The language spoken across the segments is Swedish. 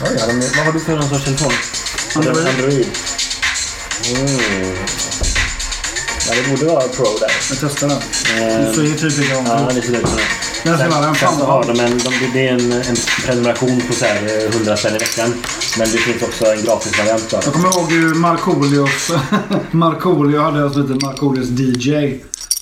Ja, ja, de, vad har du för någon sorts telefon? Android. Android. Mm. Ja, det borde vara Pro där. Jag testar den. Ehm, Du ser typ igång. Ja, det ser ut som det. Men så var den sen fan så har de en, de, det är en, en prenumeration på så här, eh, 100 spänn i veckan. Men det finns också en gratisvariant. då. Jag kommer ihåg hur Markoolios... Markoolio hade alltså lite Markoolios DJ.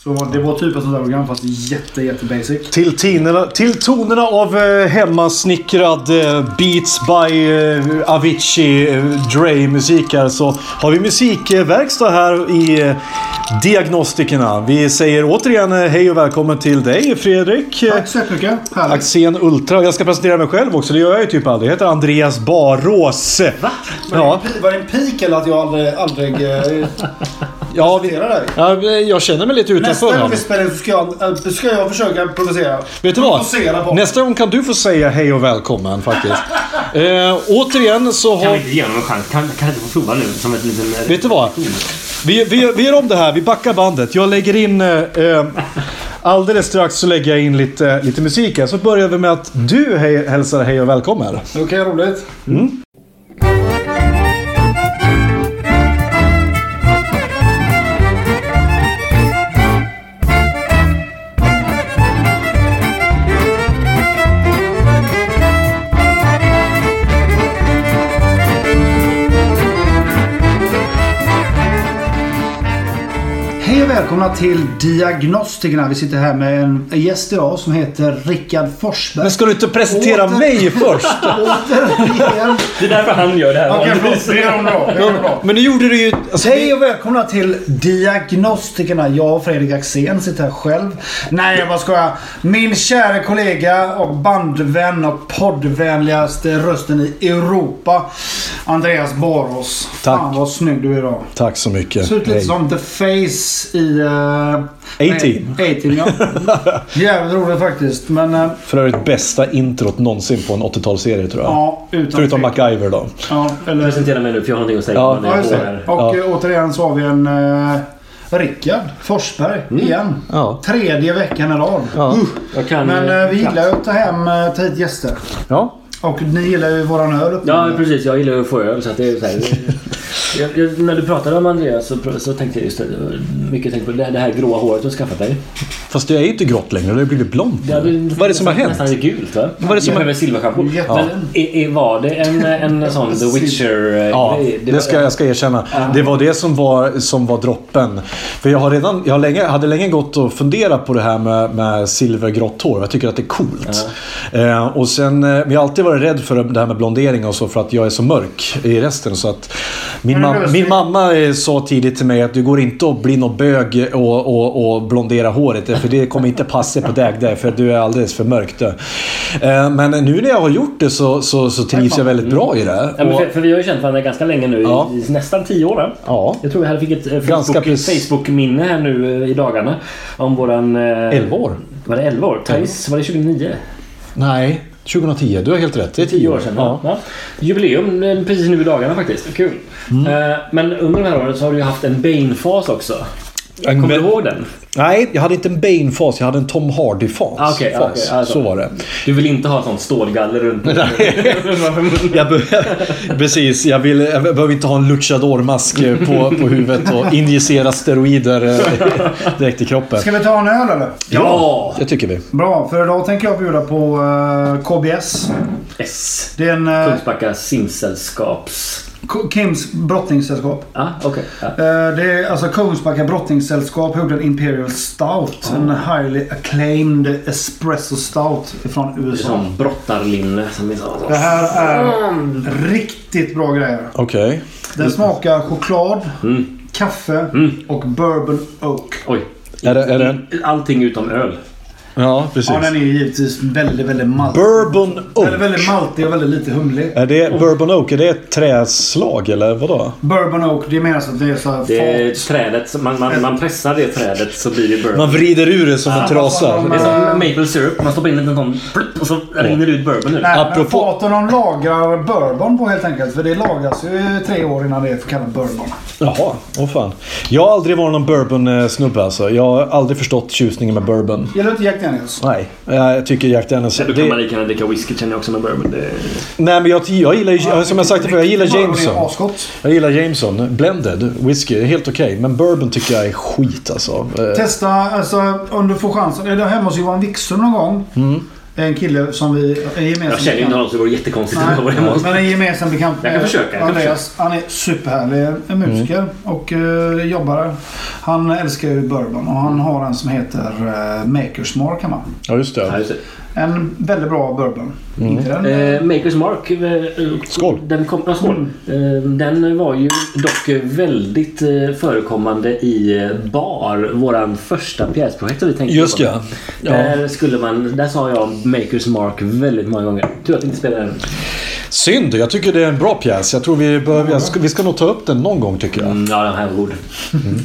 Så det var typ ett sånt där program fast jätte, jätte basic. Till, tinerna, till tonerna av eh, hemmasnickrad eh, Beats by eh, Avicii eh, Dre-musik här så har vi musikverkstad här i eh, Diagnostikerna. Vi säger återigen eh, hej och välkommen till dig Fredrik. eh, Tack så jättemycket. Härligt. Axén Ultra. Jag ska presentera mig själv också, det gör jag ju typ aldrig. Jag heter Andreas Barås. Va? Ja, Var det en pik eller att jag aldrig... aldrig eh, ja, vi, provocerar dig? ja, jag känner mig lite utanför Nästa här. gång vi spelar in så ska jag, eh, ska jag försöka provocera. Vet du vad? Provocera på. Nästa gång kan du få säga hej och välkommen faktiskt. eh, återigen så Kan vi har... inte ge honom en chans? Kan, kan jag inte få prova nu? Som ett liten... Vet du vad? Vi, vi, vi gör om det här. Vi backar bandet. Jag lägger in... Eh, eh, alldeles strax så lägger jag in lite, eh, lite musik här. Så börjar vi med att du hej, hälsar hej och välkommen. Okej, roligt. Mm. Hej och välkomna till Diagnostikerna. Vi sitter här med en gäst idag som heter Rickard Forsberg. Men ska du inte presentera Åter- mig först? Återigen. Det är därför han gör det här. Okej, förlåt. Det gör de bra. Det gör de bra. Men nu gjorde du ju... Alltså, Hej och välkomna till Diagnostikerna. Jag och Fredrik Axén sitter här själv. Nej, jag bara skojar. Min kära kollega och bandvän och poddvänligaste rösten i Europa. Andreas Barås. Fan Tack. vad snygg du är idag. Tack så mycket. Ser ut lite Hej. som The Face i... Uh, A-Team. A-Team, ja. Jävligt roligt faktiskt. Men eh, För övrigt bästa introt någonsin på en 80-talsserie tror jag. ja, utan Förutom tvekan. MacGyver då. Ja, eller... Presentera mig nu för jag har någonting att säga. Ja. om Ja, just det. det. här. Och Ja. eh, återigen så har vi en eh, Rickard Forsberg Mm. igen. Ja. Tredje veckan i rad. Ja. Jag kan... Men eh, vi knappt. gillar ju att ta hem eh, ta hit gäster. ja. Och ni gillar ju våran öl uppe. Ja, precis. Jag gillar ju att få öl. Så att det är så här, jag, jag, när du pratade om Andreas så, pr- så tänkte jag just det. det var Mycket tänkte på det, det här gråa håret du har skaffat dig. Fast det är ju inte grått längre. Det har ju blivit blont. Det hade, Vad är det som har hänt? Nästan är gult va? Vad är det som jag har- behöver silverschampo. Jättefin. Men är, är, var det en, en sån The eh, Witcher-grej? Ja, det ska jag ska erkänna. Det var det som var, som var droppen. För jag, har redan, jag har länge, hade länge gått och funderat på det här med, med silvergrått hår. Jag tycker att det är coolt. Eh, och sen, eh, vi har alltid varit rädd för det här med blondering och så för att jag är så mörk i resten. Så att min, Men mam- lösning- min mamma eh, sa tidigt till mig att du går inte att bli någon bög och, och, och blondera håret. eh, För det kommer inte passa på dig där, för du är alldeles för mörk. du. Eh, men nu när jag har gjort det så, så, så trivs jag väldigt bra i det. Ja, men Och- för, för vi har ju känt varandra ganska länge nu, i- Ja. i nästan tio år. va? Ja. Jag tror jag hade fick ett eh, Ganska Facebook- precis. Facebook-minne här nu eh, i dagarna. Om våran... eh, 11 år? Var det 11 år? Thais, var det 29? Nej, 2010. Du har helt rätt. Det är 10 år sedan. Ja. Ja. Jubileum eh, precis nu i dagarna faktiskt. Kul. Eh, Men under de här åren så har du ju haft en Bane-fas också. En Kommer du Ba- ihåg den? Nej, jag hade inte en Bane-fas. Jag hade en Tom Hardy-fas. Ah, okej, Fas. okej, alltså. Så var det. Du vill inte ha sånt stålgaller runt Nej. Jag be- precis, jag, vill, jag behöver inte ha en luchadormask eh, på, på huvudet och injicera steroider eh, direkt i kroppen. Ska vi ta en öl eller? Ja! Det tycker vi. Bra, för idag tänker jag bjuda på eh, KBS. S. Det är en eh, Kungsbacka simsällskaps... K- Kims brottningssällskap. Ah, okej. Ja. Eh, Det är alltså Kungsbacka brottningssällskap gjorde en Imperial Stout. En highly acclaimed espresso stout från Det är USA. som brottarlinne som är så... Det här är riktigt bra grejer. Okej. Den smakar choklad, Mm. kaffe och bourbon oak. Oj. Är det, är det, Allting utom öl. Ja, precis. Ja, den är ju givetvis väldigt, väldigt maltig. Bourbon Den är Oak. väldigt maltig och väldigt lite humlig. Är det Bourbon Oak? Är det ett träslag eller vadå? Bourbon Oak, det menas att det är så här Det är fat. trädet, som- man, man, man pressar det trädet så blir det bourbon. Man vrider ur det som en det trasa. är som maple syrup. Man stoppar in en liten sån plupp och så rinner det ut bourbon ur. Nej, Apropå- men faten de lagrar bourbon på helt enkelt. För det lagras ju tre år innan det är kallat bourbon. Jaha, åh fan. Jag har aldrig varit någon bourbon-snubbe alltså. Jag har aldrig förstått tjusningen med bourbon. Gillar du inte Jack Daniels? Nej, jag tycker Jack Daniels... Så Då kan man Det, lika gärna dricka whisky känner jag också med bourbon. Det, nej, men jag, jag gillar ju... Som jag sagt förut, jag gillar Bourbon är Jameson. asgott. Jag gillar Jameson. Blended whisky, det är helt okej. Men bourbon tycker jag är skit alltså. Eh, Testa, alltså om du får chansen. Är du hemma hos Johan Wikström någon gång? Mm. En kille som vi är gemensamt jag känner ju inte honom så det vore jättekonstigt om jag var Nej, hemma hos men en gemensam bekant Jag kan med försöka, jag kan Andreas. Han är superhärlig. En musiker och eh, jobbare. Han älskar ju bourbon och han har en som heter eh, Makers Mark hemma. Ja, just Ja, det. just det. En väldigt bra bourbon. Inte den? Eh, Makers Mark. eh, eh, Skål. Den, kom, ja, skål. Eh, den var ju dock eh, väldigt eh, förekommande i eh, bar. Våran första pjäsprojekt som vi tänkte Just jobba ja. med. ja. Där, skulle man, där sa jag Makers Mark väldigt många gånger. Tur att vi inte spelade den. Synd, jag tycker det är en bra pjäs. Jag tror vi, bör, jag ska, vi ska nog ta upp den någon gång tycker jag. Mm, ja, den här var god.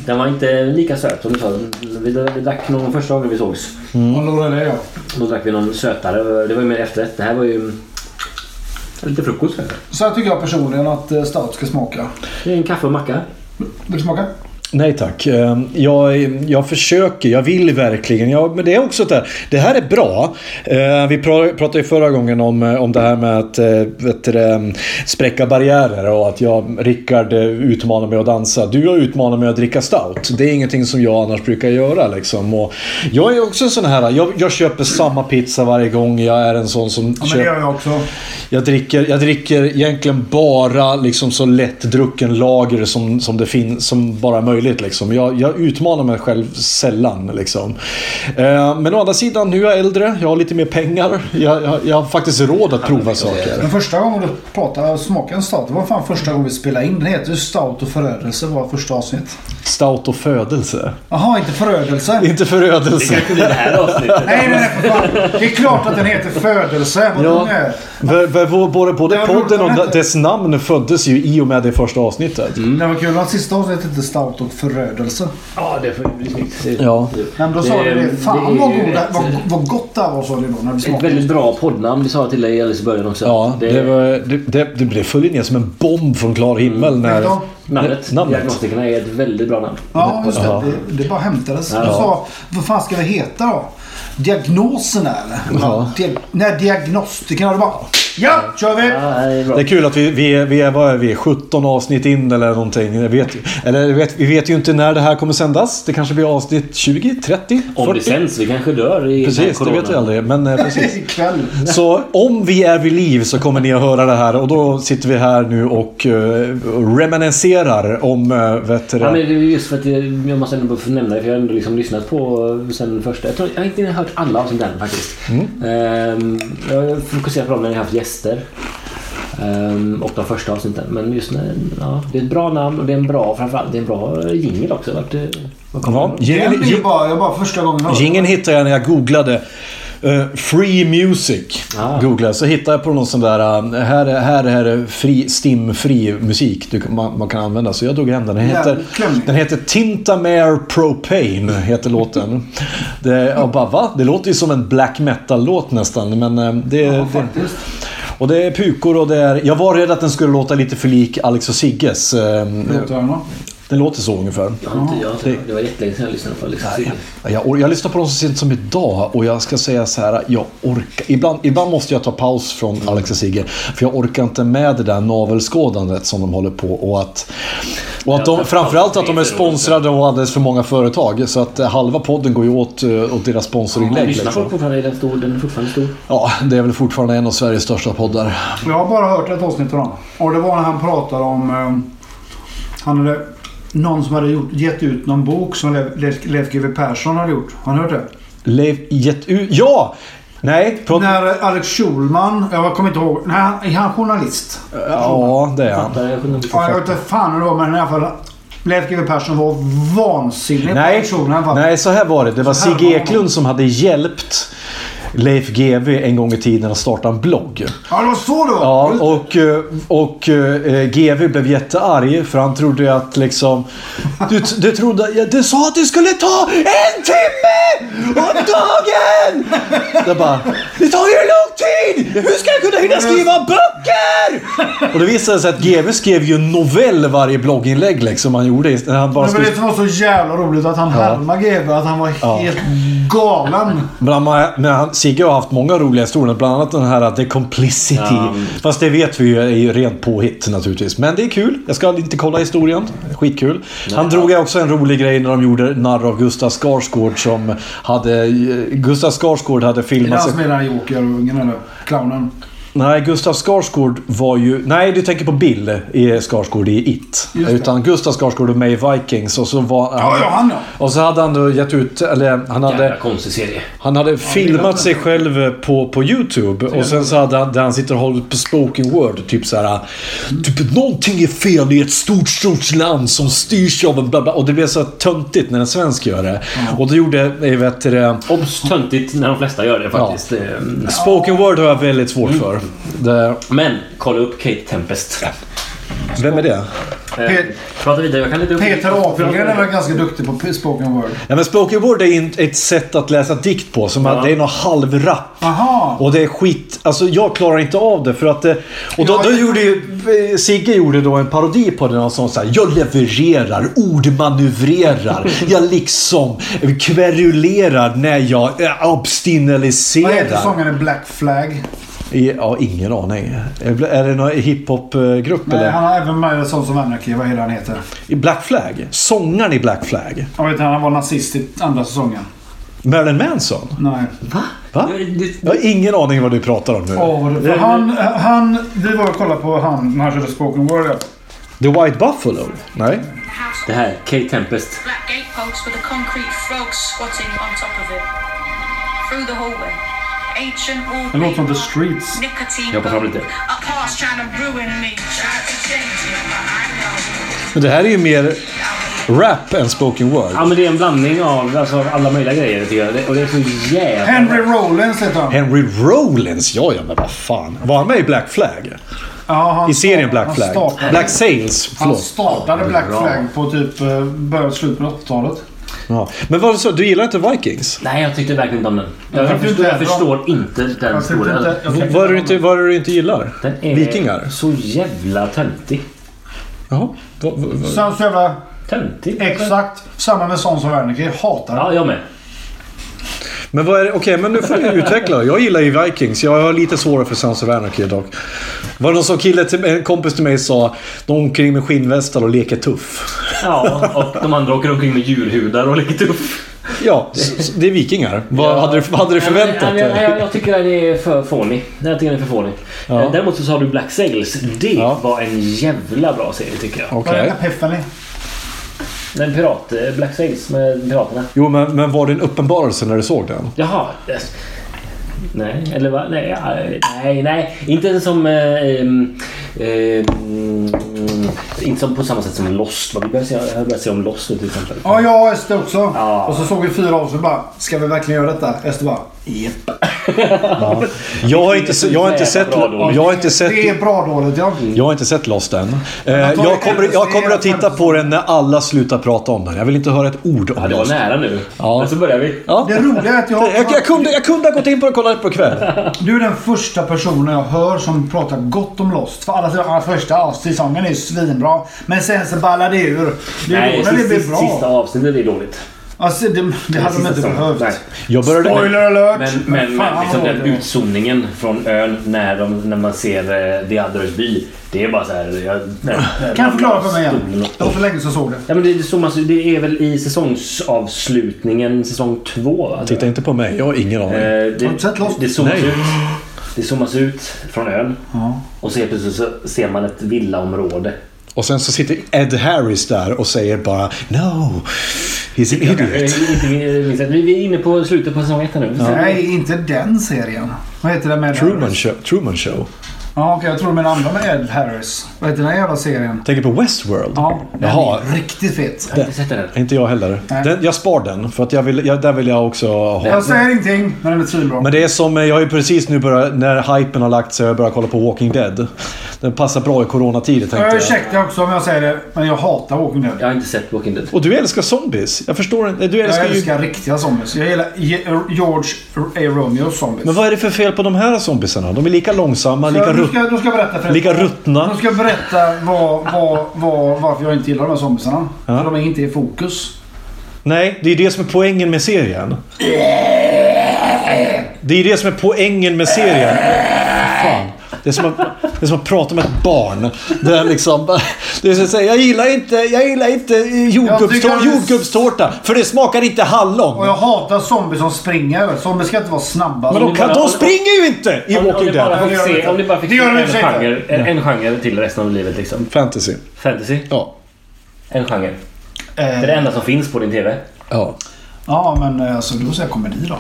Den var inte lika söt som du sa. Vi, vi drack någon första gången vi sågs. Och Lorelei ja. Då drack vi någon sötare. Det var ju mer efterrätt. Det här var ju mm, lite frukost kanske. Så här tycker jag personligen att eh, stout ska smaka. Det är en kaffe och macka. Vill du smaka? Nej tack. Eh, Jag, jag försöker, jag vill verkligen. Jag, men det är också det här. Det här är bra. Eh, Vi pra- pratade ju förra gången om, eh, om det här med att eh, vet du, det, eh, spräcka barriärer och att jag, Rickard eh, utmanar mig att dansa. Du har utmanat mig att dricka stout. Det är ingenting som jag annars brukar göra. Liksom. Och jag är också en sån här, jag, jag köper samma pizza varje gång. Jag är en sån som Ja, men det köper... gör jag också. Jag dricker, jag dricker egentligen bara liksom så lättdrucken lager som, som, det fin, som bara är möjligt. Liksom. Jag, jag utmanar mig själv sällan. Liksom. Eh, men å andra sidan, nu är jag äldre, jag har lite mer pengar. Jag, jag, jag har faktiskt råd att prova saker. Den första gången du pratade och smakade en stout, det var fan första gången vi spelade in. Den heter ju Stout och förödelse var första avsnitt. Stout och födelse. Jaha, inte förödelse? Inte förödelse. Det här avsnittet. Nej, nej, nej för fan. Det är klart att den heter födelse. Vad Ja, dum jag är. v- v- både, både Jag podden råkar och inte. dess namn föddes ju i och med det första avsnittet. Mm. Det var kul att sista avsnittet hette Stout och förödelse. Ja, det får bli snyggt. Det- Ja. Men då sa Det- du det. det är Fan ju vad, god, ett- vad, vad gott det här var sa du då när vi Ett smakade. väldigt bra poddnamn. Det sa jag till dig alldeles i början också. Ja, det, var, det, det, det blev följde ner som en bomb från klar himmel när... Ja. Mm. Namnet, Namnet. Diagnostikerna är ett väldigt bra namn. Ja, just det. Ja. Det, det bara hämtades. Du Ja. sa, vad fan ska vi heta då? Diagnoserna eller? Ja. Diag- nej, diagnostikerna. Du bara, ja, kör vi! Ja, det är bra. Det är kul att vi, vi, är- vi är, vad är vi, 17 avsnitt in eller någonting. Jag Vet, eller jag vet, vi vet ju inte när det här kommer sändas. Det kanske blir avsnitt 20, 30, 40. Om det sänds, vi kanske dör i den här Precis, det coronan. vet vi aldrig. Men, eh, precis. Ikväll. Så om vi är vid liv så kommer ni att höra det här och då sitter vi här nu och eh, reminiscerar om eh, vet du, Ja, det. men det är just för att jag, jag måste ändå få nämna det för jag har ändå liksom lyssnat på eh, sen första. Jag, tror, jag har inte hört alla avsnitt än faktiskt. Mm. Ehm, jag har fokuserat på dem när jag har haft gäster. ehm, och de första avsnitten. Men just när, ja, det är ett bra namn och det är en bra, framförallt, det är en bra jingel också. Vart, eh, var kommer Ja, den? Den jingeln, är ju bara, jag bara första gången hörde jingeln hittade jag när jag googlade. eh, free music Ah. googlade jag, så hittade jag på någon sån där, eh, här, är- här är det fri, stimfri musik du, kan- man, man kan använda. Så jag drog hem den. Den heter, klämning. den heter Tintamare Propane, heter låten. Det, jag bara, va? Det låter ju som en black metal-låt nästan. Men eh, det, Ja, det, faktiskt. och det är pukor och det är... Jag var rädd att den skulle låta lite för lik Alex och Sigges. eh, Låtarna. Den låter så ungefär. Jag har inte, jag har inte, det var jättelänge sedan jag lyssnade på Alexis jingel. Ja, Jag, or- jag lyssnar på dem så sent som idag och jag ska säga så här, jag orkar. Ibland, ibland måste jag ta paus från Alex och Sigge. För jag orkar inte med det där navelskådandet som de håller på och att... Och att de, framförallt att de är sponsrade av alldeles för många företag. Så att eh, halva podden går ju åt, eh, åt deras sponsorinlägg. Lyssnar folk Liksom. fortfarande? Är den stor? Den är fortfarande stor. Ja, det är väl fortfarande en av Sveriges största poddar. Jag har bara hört ett avsnitt av honom. Och det var när han pratade om... Eh, han hade, någon som hade gjort, gett ut någon bok som Leif- Leif Leif GW Persson hade gjort. Har ni hört det? Leif gett ut... Ja! Nej, pro- När Alex Schulman, jag kommer inte ihåg. Nej, han, är han journalist? Ja, det är han. Där är jag liksom sjunde- Ja, jag vet inte fan hur det var men i alla fall. Leif GW Persson var vansinnig på Nej, auktionen. va? nej, så här var det. Det var Så här Sigge var det. Eklund som hade hjälpt Leif GW en gång i tiden att starta en blogg. Ja, det var så det var. Ja, och, eh, och eh, GV blev jättearg för han trodde att liksom... Du, du trodde... ja, Du sa att det skulle ta en timme om dagen! Jag bara... Det tar ju lång tid! Hur ska jag kunna hinna skriva böcker? Och det visade sig att GV skrev ju en novell varje blogginlägg liksom han gjorde. När han bara Men skulle... det var så jävla roligt att han härmade GW. Att han var helt galen. Bland annat, men han, Sigge har haft många roliga historier, bland annat den här The Complicity. Ja. Fast det vet vi ju är ju rent påhitt naturligtvis. Men det är kul. Jag ska inte kolla historien. Skitkul. Han drog ju också en rolig grej när de gjorde narr av Gustav Skarsgård som hade... Gustav Skarsgård hade Är det filmat han sig... som är den här Joker-ungen eller? Clownen. Nej, Gustav Skarsgård var ju... Nej, du tänker på Bill i Skarsgård i It. Just det. Utan Gustav Skarsgård och med i Vikings och så var... Ja, ja, han ja. Och så hade han då gett ut... Eller han hade... Jävla konstig serie. Han hade filmat sig själv på, på YouTube och sen så hade han, där han sitter och håller på spoken word. Typ så här. Typ någonting är fel i ett stort, stort land som styrs av en bla bla. Och det blev så töntigt när en svensk gör det. Och då gjorde, eh, vet du det, Obs! Töntigt när de flesta gör det faktiskt. Ehm, spoken word har jag väldigt svårt för. Det, Men kolla upp Kate Tempest. vem är det? Eh, Prata vidare, jag kan inte... Peter Apelgren är väl ganska duktig på spoken word. Ja, men spoken word är in- ett sätt att läsa dikt på. Som att det är någon halvrap. Aha. Och det är skit. Alltså jag klarar inte av det för att det, Och då, då gjorde ju... eh, Sigge gjorde då en parodi på det. Och sa så här, jag levererar, ordmanövrerar. jag liksom kverulerar när jag eh, Vad heter abstineliserar. sångaren Black Flag? I- Ja, ingen aning. Är det någon hiphopgrupp Nej, han eller? har även med i Sons of Anarchy. Vad heter han heter? I Black Flag? Sångaren i Black Flag? Jag vet inte, han var nazist i andra säsongen. Marilyn Manson? Nej. Va? Det- Jag har ingen aning vad du pratar om nu. Åh, vad det- Det- han, han, vi var och kollade på han, den här körde spoken word. ja. The White Buffalo? Nej. Det här, Kate Tempest. black gatepost with a concrete frog squatting on top of it. Through the hallway, ancient old Det låter som people, The Streets. nicotine Jag hoppar fram lite. bone, up past trying to ruin me, try to change me, but I know. Men det här är ju mer rap än spoken word. Ja men det är en blandning av alltså, alla möjliga grejer tycker jag. Det- Och det är så jävla... Henry Rollins heter han. Henry Rollins? Ja, ja, men vad fan. Var han med i Black Flag? Ja, han I serien Black han Flag? startade- Black Sails, Han förlåt. startade Black Flag på typ eh, början slutet på 80-talet. Ja. Men vad så, du gillar inte Vikings? Nej, jag tyckte verkligen inte om den. Jag, Jag tyckte förstår, inte jag det. förstår inte den Jag tyckte historien. inte- jag V- tyckte Vad är det du om inte, den. vad är det du inte gillar? Den är Vikingar? så jävla töntig. Jaha. Va- va- va- Sen så jävla Töntig? exakt samma med Sons of Anarchy. Hatar den. Ja, jag med. Men vad är det? Okej, men nu får du utveckla. Jag gillar ju Vikings. Jag har lite svårare för Sons of Anarchy dock. Var det någon som kille till, en kompis till mig sa, de omkring med skinnvästar och leker tuff. Ja, och de andra åker omkring med djurhudar och leker tuff. Ja, s- s- det är vikingar. Vad hade du, vad hade du förväntat dig? Jag, dig? jag, jag tycker att det är för fånig. Jag tycker att det är för fånig. Ja. Eh, Däremot så sa du Black Sails. Det Ja. var en jävla bra serie tycker jag. Okej. Vad heter Epiphany? Den pirat... eh, Black Sails med piraterna. Jo, men, men var det en uppenbarelse när du såg den? Jaha. yes. Nej, eller vad? Nej, ja, eh, nej, nej. Inte som... Eh, ehm, ehm, inte som på samma sätt som Lost. Vad Vi börjar se, jag börjar se om Lost nu till exempel. Ja, jag och Ester också. Ja. Och så såg vi fyra avsnitt och bara, ska vi verkligen göra detta? Ester bara, japp. Jag har inte, se- jag har inte sett... Jag har inte sett... Det är bra dåligt ja. Jag har inte sett Lost än. Eh, jag, kommer, jag kommer att titta på den när alla slutar prata om den. Jag vill inte höra ett ord Ja, om det var Lost. nära nu. Ja. Men så börjar vi. Ja. Det roliga är att jag, Jag, jag, kunde, jag kunde ha gått in på det och kollat på kväll. Du är den första personen jag hör som pratar gott om Lost. För alla alla första av säsongen är ju svinbra. Men sen så ballar det ur. Det är Nej, då när det sista, blir sista bra. avsnittet är dåligt. Alltså, det, det hade de Sista inte säsongen. Nej. behövt. Jag började, Spoiler alert! Men, men, men fan liksom vad den det var. utzoomningen från ön när, de, när man ser eh, The Others by. Det är bara så här... Jag, jag, Kan du förklara för mig igen? Stolen Det var för länge sedan jag såg det. Ja, men det, det, zoomas, det är väl i säsongsavslutningen, säsong två? va? titta inte på mig, jag har ingen Eh, aning. det, Har du sett Lost? det zoomas Nej. ut. Det zoomas ut från ön. Ja. Och så helt plötsligt så ser man ett villaområde. Och sen så sitter Ed Harris där och säger bara No, he's an Jag idiot. är inte minst att Eh, Vi vi är inne på slutet på säsong ett här nu. Nej, inte den serien. Vad heter den med Truman show, Truman show. Ja, okej. Jag tror du menar andra med Ed Harris. Vad heter den här jävla serien? Tänker på Westworld? Ja, den Jaha. är riktigt fet. Jag har inte sett den än. Inte jag heller. Nej. Den, jag spar den, för att jag vill, jag, där vill jag också ha. Jag säger ingenting, men den är svinbra. Men det är som, eh, jag har ju precis nu börjat, när hypen har lagt sig har jag börjat kolla på Walking Dead. Den passar bra i coronatider tänkte Jag jag. ursäktar också om jag säger det, men jag hatar Walking Dead. Jag har inte sett Walking Dead. Och du älskar zombies. Jag förstår inte. Du älskar Jag ju... älskar riktiga zombies. Jag gillar Je- George A. Romeos zombies. Men vad är det för fel på de här zombiesarna? De är lika långsamma, Så lika jag- då, rutt... ska, då ska jag berätta för er. lika ruttna. Då ska jag berätta vad, vad, vad, varför jag inte gillar de här zombiesarna. Ja. För de är inte i fokus. Nej, det är det som är poängen med serien. Det är det som är poängen med serien. Fan. Det är som att, det är som att prata med ett barn. Det är liksom... Det är som att säga, jag gillar inte, jag gillar inte eh, Jag tycker jordgubbstår, att det är- jordgubbstårta. För det smakar inte Och hallon. jag hatar zombies som springer. Zombies ska inte vara snabba. Men de, kan, de springer ju inte i Om, om, Walking ni bara Dead. fick se, om ni bara fick Det se gör de i en, och för sig inte. genre, en, en genre till resten av livet liksom. Fantasy. Fantasy. Ja. En genre. Det är det Eh, enda som finns på din TV. Ja. ja, men eh, alltså, då säger jag komedi då.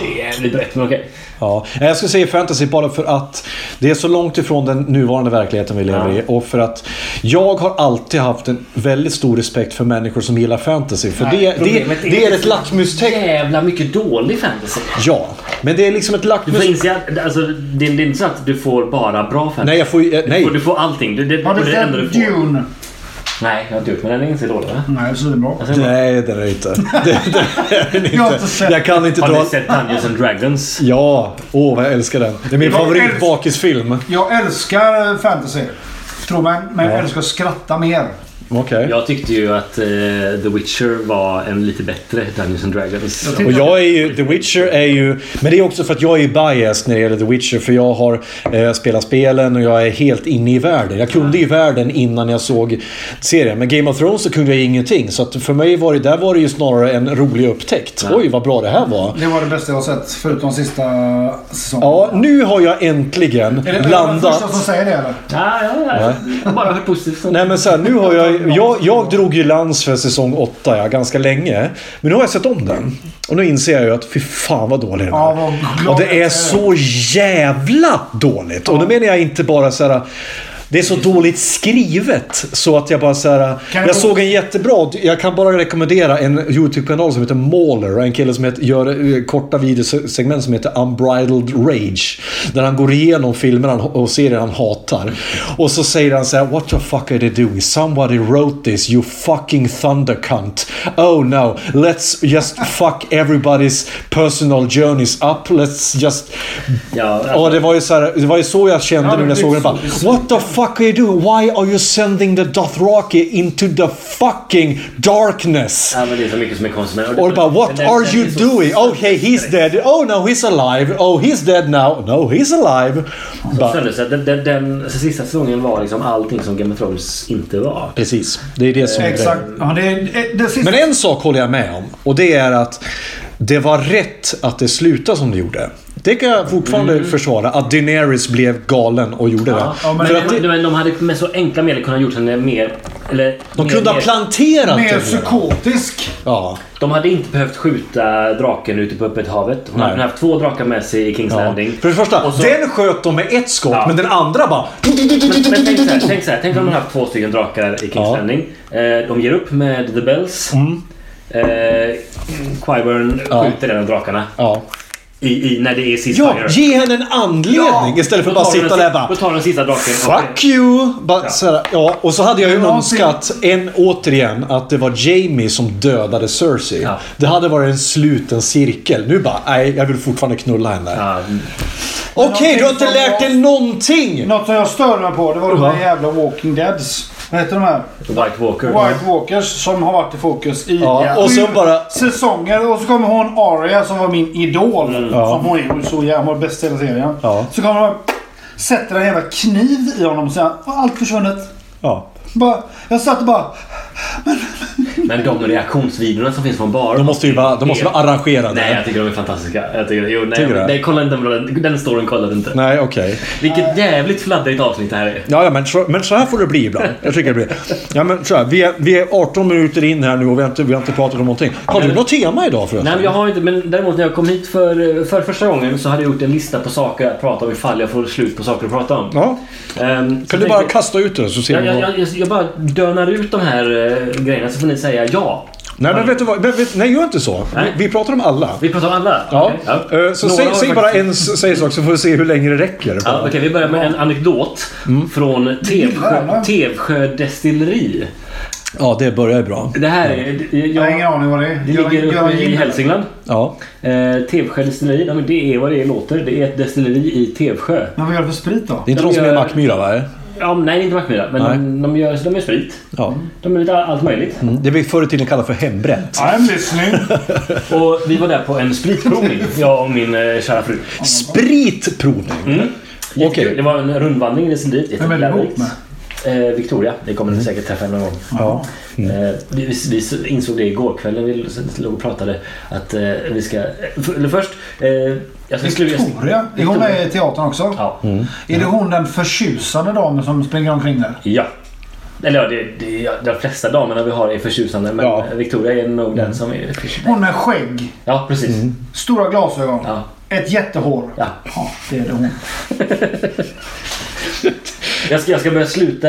Det är jävligt brett men okej. Ja, jag skulle säga fantasy bara för att det är så långt ifrån den nuvarande verkligheten vi lever Ja. i. Och för att jag har alltid haft en väldigt stor respekt för människor som gillar fantasy. För det, det, Problemet det är så ett lackmustecken. Jävla mycket dålig fantasy. Ja, men det är liksom ett Du får lackmus... inse att alltså, det, det är inte så att du får bara bra fantasy. Nej, jag får ju... eh, Nej. Och du får allting. Det, det, Har det du är det enda du sett får. Dune? Nej, jag har inte gjort men den är inte så dålig va? Nej, svinbra. Alltså, jag bara, Nej, det är det inte. Det, det är det Jag har inte inte. sett- Jag kan inte har dra... ni sett Dungeons and Dragons? Ja, åh vad jag älskar den. Det är min Jag favorit älsk- bakisfilm. Jag älskar fantasy. Tror mig, men jag älskar att skratta mer. Okej. Jag tyckte ju att eh, The Witcher var en lite bättre Dungeons and Dragons. Jag tyckte- Och jag är ju, The Witcher är ju... Men det är också för att jag är biased när det gäller The Witcher. För jag har eh, spelat spelen och jag är helt inne i världen. Jag kunde ju världen innan jag såg serien. Men Game of Thrones så kunde jag ingenting. Så att för mig var det, där var det ju snarare en rolig upptäckt. Oj, vad bra det här var. Det var det bästa jag har sett, förutom sista säsongen. Ja, nu har jag äntligen Är det- är det den första som landat... säger det eller? Ja, ja, ja. Jag har bara hört positivt om Nej men så här, nu har jag, jag, jag drog ju lans för säsong 8 ja, ganska länge. Men nu har jag sett om den. Och nu inser jag ju att fy fan vad dålig den är. Ja, vad glad och jag det är är. så jävla dåligt. Och då menar jag inte bara så här. Det är så dåligt skrivet så att jag bara så här. Kan jag jag- såg en jättebra. Jag kan bara rekommendera en YouTube-kanal som heter Mauler. och En kille som heter, gör eh, korta videosegment som heter Unbridled Rage. Där han går igenom filmer han- och serier han hatar. Och så säger han så här. What the fuck are they doing? Somebody wrote this you fucking thunder cunt. Oh no, let's just fuck everybody's personal journeys up. Let's just... Ja, alltså- och det var ju så, här, det var ju så jag kände Ja, nu när jag det såg är den. Bara, så- What the fuck are you doing? Why are you sending the Dothraki into the fucking darkness? Ja, men det är så mycket som är konsument. Or bara what Den- are den you är så- doing? Okay, he's dead. Oh no, he's alive. Oh, he's dead now. No, he's alive. Bara, Sen, så den, den, den sista säsongen var liksom allting som Game of Thrones inte var. precis, det är det som är grejen. Exakt. Ja, det, är- det, det sista... Men en sak håller jag med om och det är att det var rätt att det slutade som det gjorde. Det kan jag fortfarande försvara. Att Daenerys blev galen och gjorde det. ja, men, För att de, det, men de hade med så enkla medel kunnat gjort henne mer... Eller, de mer- kunde ha mer- planterat det. Mer redan. psykotisk. Ja. De hade inte behövt skjuta draken ute på öppet havet. Hon Nej. hade kunnat haft två drakar med sig i Kings Ja. Landing. För det första, Och så- den sköt de med ett skott, Ja. men den andra bara... Men, men tänk så här, tänk, så här, tänk om de hade haft två stycken drakar i Kings Ja. Landing. Eh, de ger upp med The Bells. Mm. Eh, Qyburn Ja. skjuter en av drakarna Ja. i, i, när det är sista ja, ge henne en anledning istället för att bara sitta där och bara... Då tar de den sista draken. Fuck you! Bara, så här, ja, och så hade jag ju någonting- önskat, en, återigen, att det var Jamie som dödade Cersei. Ja. Det hade varit en sluten cirkel. Nu bara, nej, jag vill fortfarande knulla henne. Ja, Okej, du har inte Någonting som lärt var- dig någonting! Något som jag störde mig på det var de Va? här jävla Walking Deads. Vad heter de här? White Walker. White Walkers som har varit i fokus i Ja, och sju sen bara- säsonger. Och så kommer hon Arya som var min idol. Mm. Ja. Som hon är så jävla bäst i hela serien. Ja. Så kommer hon sätter en jävla kniv i honom och säger allt försvunnet. Ja. Bara, jag satt och bara... Men, Men de reaktionsvideorna som finns från baren. De måste ju vara, de måste vara arrangerade. Nej, jag tycker de är fantastiska. Jag tycker, jo, nej, Tycker du? nej, kolla inte den, den storyn kolla inte. Nej, okej. Vilket jävligt fladdrigt avsnitt det här är. Ja, ja men, så, men så här får det bli ibland. Jag tycker det blir. Ja, men så här, vi, är, vi är 18 minuter in här nu och vi har inte, vi har inte pratat om någonting. Har du något tema idag förresten? Nej, men jag har inte, men däremot när jag kom hit för, för första gången så hade jag gjort en lista på saker att prata om ifall jag får slut på saker att prata om. Ja. Ehm, så Kan du tänkte- bara kasta ut det så ser jag, vi jag, vad... jag, jag, jag bara dönar ut de här eh, grejerna så får ni säga ja. Nej, men vet du vad? Men vet- Nej, gör inte så. Vi, Nej. vi pratar om alla. Vi pratar om alla? Ja. Okej, Eh, Så Några säg, har säg faktiskt- bara en s- säg sak så får vi se hur länge det räcker. Ja, Okej, vi börjar med en anekdot Mm. från Tevsjö, Jävlar. Tevsjö destilleri. Ja, det börjar ju bra. Det här är... det- Jag, Mm. Jag har ingen aning vad det är. det Jag- ligger jag- uppe i Hälsingland. Ja. Eh, Tevsjö destilleri, ja, men det är vad det låter. Det är ett destilleri i Tevsjö. Men vad gör du för sprit då? Det är inte De de som är gör- Mackmyra, va? Ja, men nej, det är inte Mackmyra. Men Nej. Mm. de, de, gör, de gör sprit. Ja. De gör lite all- allt möjligt. Det vi förr i tiden kallade för hembränt. I'm listening. Och vi var där på en spritprovning, jag och min eh, kära fru. Spritprovning! Mm. Okej. Jättekul. Det var en rundvandring i destineriet. Vem är du Jättelärorik. ihop med? Eh, Victoria. Det kommer ni säkert träffa någon gång. Mm. Ja. Mm. Eh, vi, vi vi insåg det igår kväll när vi låg och pratade. Att eh, vi ska... eh, För, eller först... Eh, jag ska- skulle- Victoria. Är hon med i teatern också? Ja. Mm. Är det hon den förtjusande damen som springer omkring där? Ja. Eller ja, det, det, ja, de flesta damerna vi har är förtjusande. Men Ja. Mm. Victoria är nog den som är förtjusande. Hon med skägg. Ja, precis. Stora glasögon. Ja. Ett jättehår. Ja. det är det hon. Jag ska, jag ska börja sluta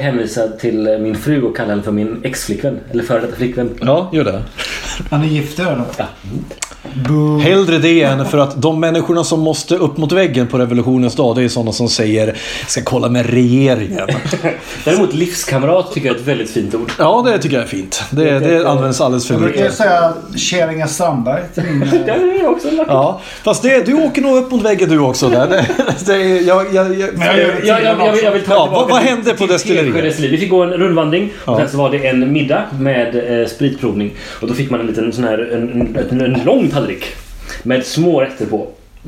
hänvisa till min fru och kalla henne för min ex-flickvän. Eller före detta flickvän. Ja, gör det. Han är gift eller? Ja. Boo. Hellre det än för att de människorna som måste upp mot väggen på revolutionens dag, det är sådana som säger “ska kolla med regeringen”. Däremot livskamrat tycker jag är ett väldigt fint ord. Ja, det tycker jag är fint. Det, det används alldeles för Jag brukar ju mycket. säga Käringe Strandberg till min... Det är också en lapp. Ja, fast det, du åker nog upp mot väggen du också. Där. Det, det, är- jag, jag, jag, Men jag gör det jag, jag, jag, vill- jag vill ta Ja, tillbaka vad- vad till- hände på till destilleriet? Tevsjö destilleri? Vi fick gå en rundvandring Ja. och sen så var det en middag med eh, spritprovning. Och då fick man en liten sån här, en, en, en, en lång tallrik. Med små rätter på. I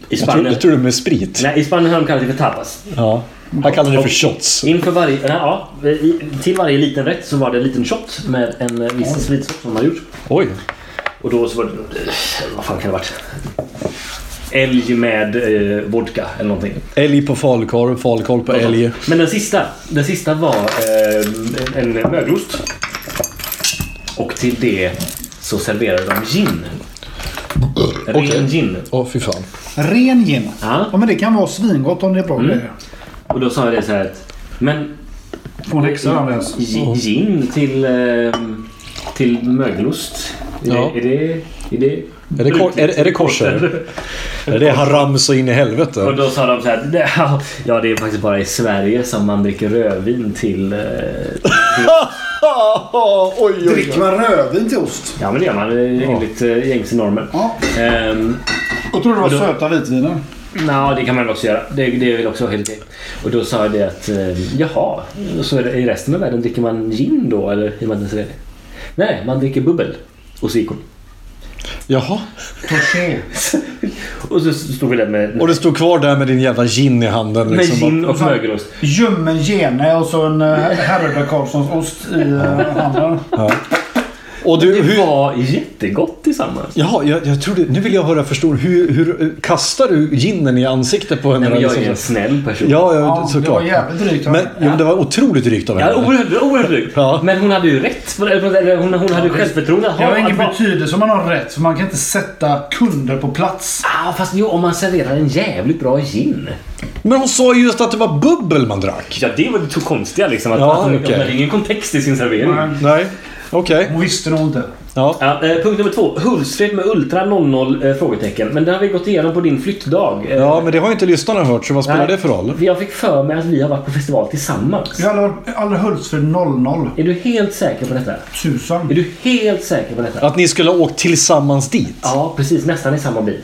jag, tror, Spanien. jag tror det är med sprit. Nej, i Spanien har de kallat det för tapas. Ja. Han kallar det för shots. Inför varje, nej, ja, i- till varje liten rätt så var det en liten shot med en eh, viss spritsort som man gjort. Oj. Och då så var det... eh, Vad fan kan det ha varit? Älg med eh, vodka eller någonting. Älg på falukorv, falukorv på älg. Men den sista, den sista var eh, en en mögelost. Och till det så serverade de gin. Ren Okej. gin. Åh, fy fan. Ren gin. Ja. Mm. men det kan vara svingott om det är bra grejer. Och då sa jag det så här att... Men Får en Mm. häxa Andreas. gi- gin till, eh, till mögelost? Är, Ja. det, är det... Är det Är det, kor- är, är det korser? Är det haram så in i Och helvete? då sa de så här, "Det- ja det är faktiskt bara i Sverige som man dricker rödvin till... eh, oj, oj, Dricker man rödvin till ost? Ja men det gör man eh, enligt eh, gängse normer. Ja. Ehm, Och tror du det var Och då- söta vitviner? Nå, det kan man väl också göra. Det, det är väl också helt okej. Och då sa jag det att eh, jaha, så är det, i resten av världen dricker man gin då eller hur man ens det? Nej, man dricker bubbel och sikon. Jaha. Touché. Och så stod vi där med, Och det stod kvar där med din jävla gin i handen. med Liksom. gin och mögelost. Ljummen gene och så en eh, Herreda Karlssons ost i eh, handen. Och du, Det hur... var jättegott tillsammans. Jaha, jag, jag trodde... Nu vill jag höra förstå. Hur, hur kastar du ginen i ansiktet på henne? Nej, men jag är en Liksom så- snäll person. ja, Ja, ja, det var såklart. jävligt drygt. Men, jo, men det var otroligt drygt av Ja, henne. oerhört, oerhört drygt. Ja. Men hon hade ju rätt. Eller Hon, hon hade ju självförtroende. att Det ha- har ingen att vara- betydelse om man har rätt för man kan inte sätta kunder på plats. Ah, fast jo, om man serverar en jävligt bra gin. Men hon sa ju just att det var bubbel man drack. Ja, det var det konstiga liksom. Att Ja, att hon okej. hon hade ingen kontext i sin servering. Nej, okej. Hon visste nog inte. Ja. Ja, eh, punkt nummer två. Hultsfred med Ultra 00? Eh, frågetecken. Men det har vi gått igenom på din flyttdag. Eh, ja, men det har ju inte lyssnarna hört, så vad spelar nej. det för roll? Jag fick för mig att vi har varit på festival tillsammans. Jag har aldrig- aldrig hölls för 00. Är du helt säker på detta? Är Tusan. du helt säker på detta? Att ni skulle ha åkt tillsammans dit? Ja, precis. Nästan i samma bil.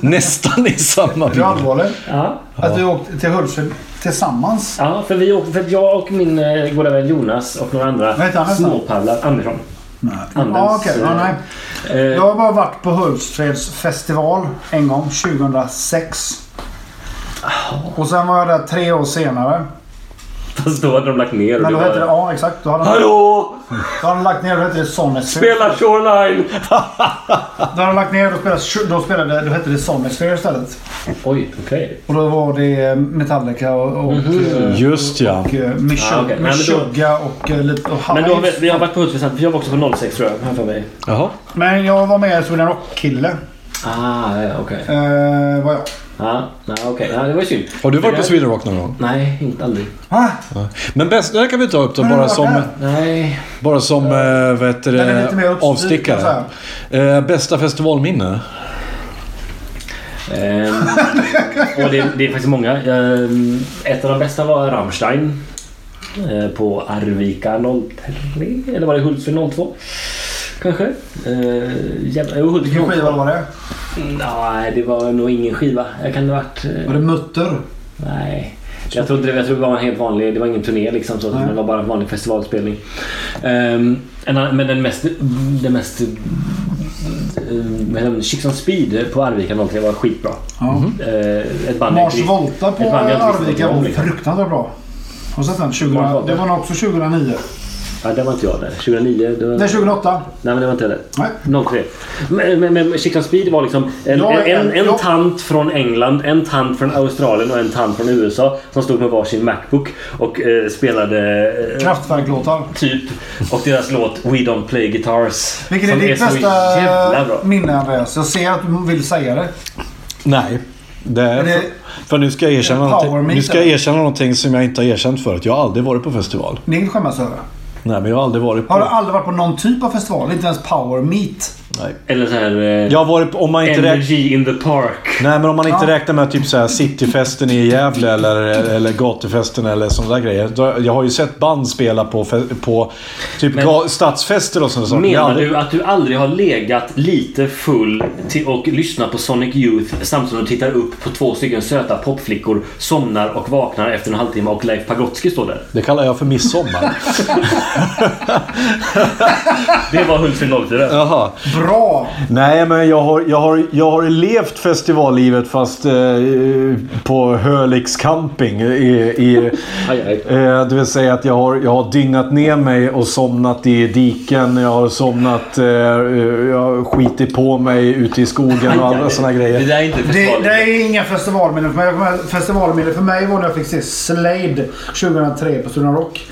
Nästan i samma Är du bil. allvarlig? Ja, Att vi åkte till Hultsfred tillsammans? ja för, vi åkte, för att jag och min eh, goda vän Jonas och några andra Vad heter han nästan? småpaddlar. Andersson. Nej. Anders, Ja, okej. Ja, nej. eh, Jag har bara varit på Hultsfreds festival en gång, 2006. Och sen var jag där tre år senare. Fast då hade de lagt ner och Men det då hette var... det... Ja, exakt. Då hade de, Hallå! då hade de lagt ner. Då hette det Sonisphere. Spela Shoreline! Då hade de lagt ner. Då spelade, då spelade, då hette det Sonisphere istället. Oj, okej. Och då var det Metallica och, och, Just ja. och eh, Mhm. Ah, okej. Nej, men Meshuggah då- Meshuggah och eh, lite... Och Men då har vi, Hives. vi har varit på Hultsfred för jag var också på 06 tror jag, här för mig. Jaha. Men jag var med som en rockkille. Ah, ja, okej. Eh, var jag. Ja, nej, okej. Ja, det var ju synd. Har du varit För på det- Sweden Rock någon gång? Nej, inte aldrig. Ah, Men bäst, det här kan vi ta upp då, Men bara vad som, där? Nej. bara som eh, vad heter Den är lite mer det, uppstyrd, kan avstickare. jag Eh, bästa festivalminne? Ehm, och det, det är faktiskt många. Ehm, ett av de bästa var Rammstein. eh, På Arvika 03, eller var det Hultsfred 02? Kanske? Eh, jävla, jo, Hultsfred 02. vilken skiva var det? Nej, det var nog ingen skiva. Jag kan det ha varit... eh, Var det Mutter? Nej. Jag tror, inte det, jag tror det var en helt vanlig, det var ingen turné liksom, så, utan det var bara en vanlig festivalspelning. Ehm, en annan- men den mest, den mest eh, vad heter den? Chicks on Speed på Arvika 03 var skitbra. Eh, ett band jag Mars inte- Volta på ett band jag inte visste Arvika något om, var liksom. fruktansvärt bra. Har du sett den? 2000, Mars Volta. det var nog också 2009. Ja, det var inte jag där. 2009. Det var, Nej, nej, 2008. men det var inte jag där. Nej. 03. Men, men, men Chicks on Speed var liksom en, Ja, en, en, en- ja. en tant från England, en tant från Australien och en tant från USA som stod med varsin Macbook och eh, spelade eh, Kraftwerk-låtar. Typ. Och deras låt We Don't Play Guitars. Vilket är som ditt så jävla bra. bästa minne Andreas? Jag ser att du vill säga det. Nej. Det, det- för, för nu ska jag erkänna Power någonting, nu meter. ska jag erkänna någonting som jag inte har erkänt förut. Jag har aldrig varit på festival. Det är inget att skämmas över. Nej, men jag har aldrig varit på... Mm. Har du aldrig varit på någon typ av festival? Inte ens Power Meet? Nej. Eller så här... Eh, Jag har varit på, om man inte räknar... Energy in the Park. Nej, men om man inte Ja. räknar med typ så här cityfesten i Gävle eller, eller gatufesten eller sådana där grejer. Då- Jag har ju sett band spela på, fe- på typ Men- ga- stadsfester och sånt. Jag har Menar aldrig- du att du aldrig har legat lite full till och lyssnat på Sonic Youth samtidigt som du tittar upp på två stycken söta popflickor, somnar och vaknar efter en halvtimme och Leif Pagrotsky står där? Det kallar jag för midsommar. Det var Hultsfred 04. Jaha. Bra! Nej, men jag har, jag har, jag har levt festivallivet fast eh, på Hölix camping. I, i, Aj, aj. Eh, det vill säga att jag har, jag har dygnat ner mig och somnat i diken. Jag har somnat... Eh, jag har skitit på mig ute i skogen och alla sådana grejer. Det där är inte Det, det festival. är inga festivalminnen för mig. Jag kommer- Festivalminnen för mig var när jag fick se Slade 2003 på Studion Rock.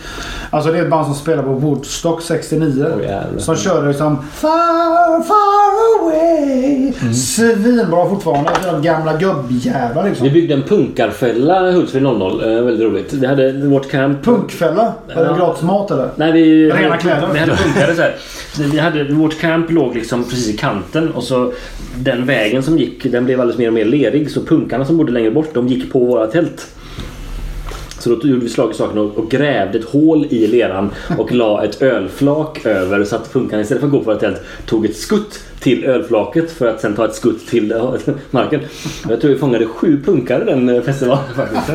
Alltså det är ett band som spelar på Woodstock 69. Åh, jävlar. som körde liksom Far, far away. Mm. Svinbra fortfarande. Alltså, de gamla gubbjävlar Vi liksom. byggde en punkarfälla Hultsfred 00. Eh, väldigt roligt. Vi hade vårt camp. Punkfälla? Var det gratis mat eller? Nej, vi, Rena kläder. Vi hade funkade så här. Vi hade, vårt camp låg liksom precis i kanten och så den vägen som gick den blev alldeles mer och mer lerig så punkarna som bodde längre bort de gick på våra tält. Så då gjorde vi slag i saken och, och grävde ett hål i leran och la ett ölflak över så att punkarna istället för att gå på våra tält tog ett skutt till ölflaket för att sen ta ett skutt till eh, marken. Jag tror vi fångade sju punkare den eh, festivalen faktiskt.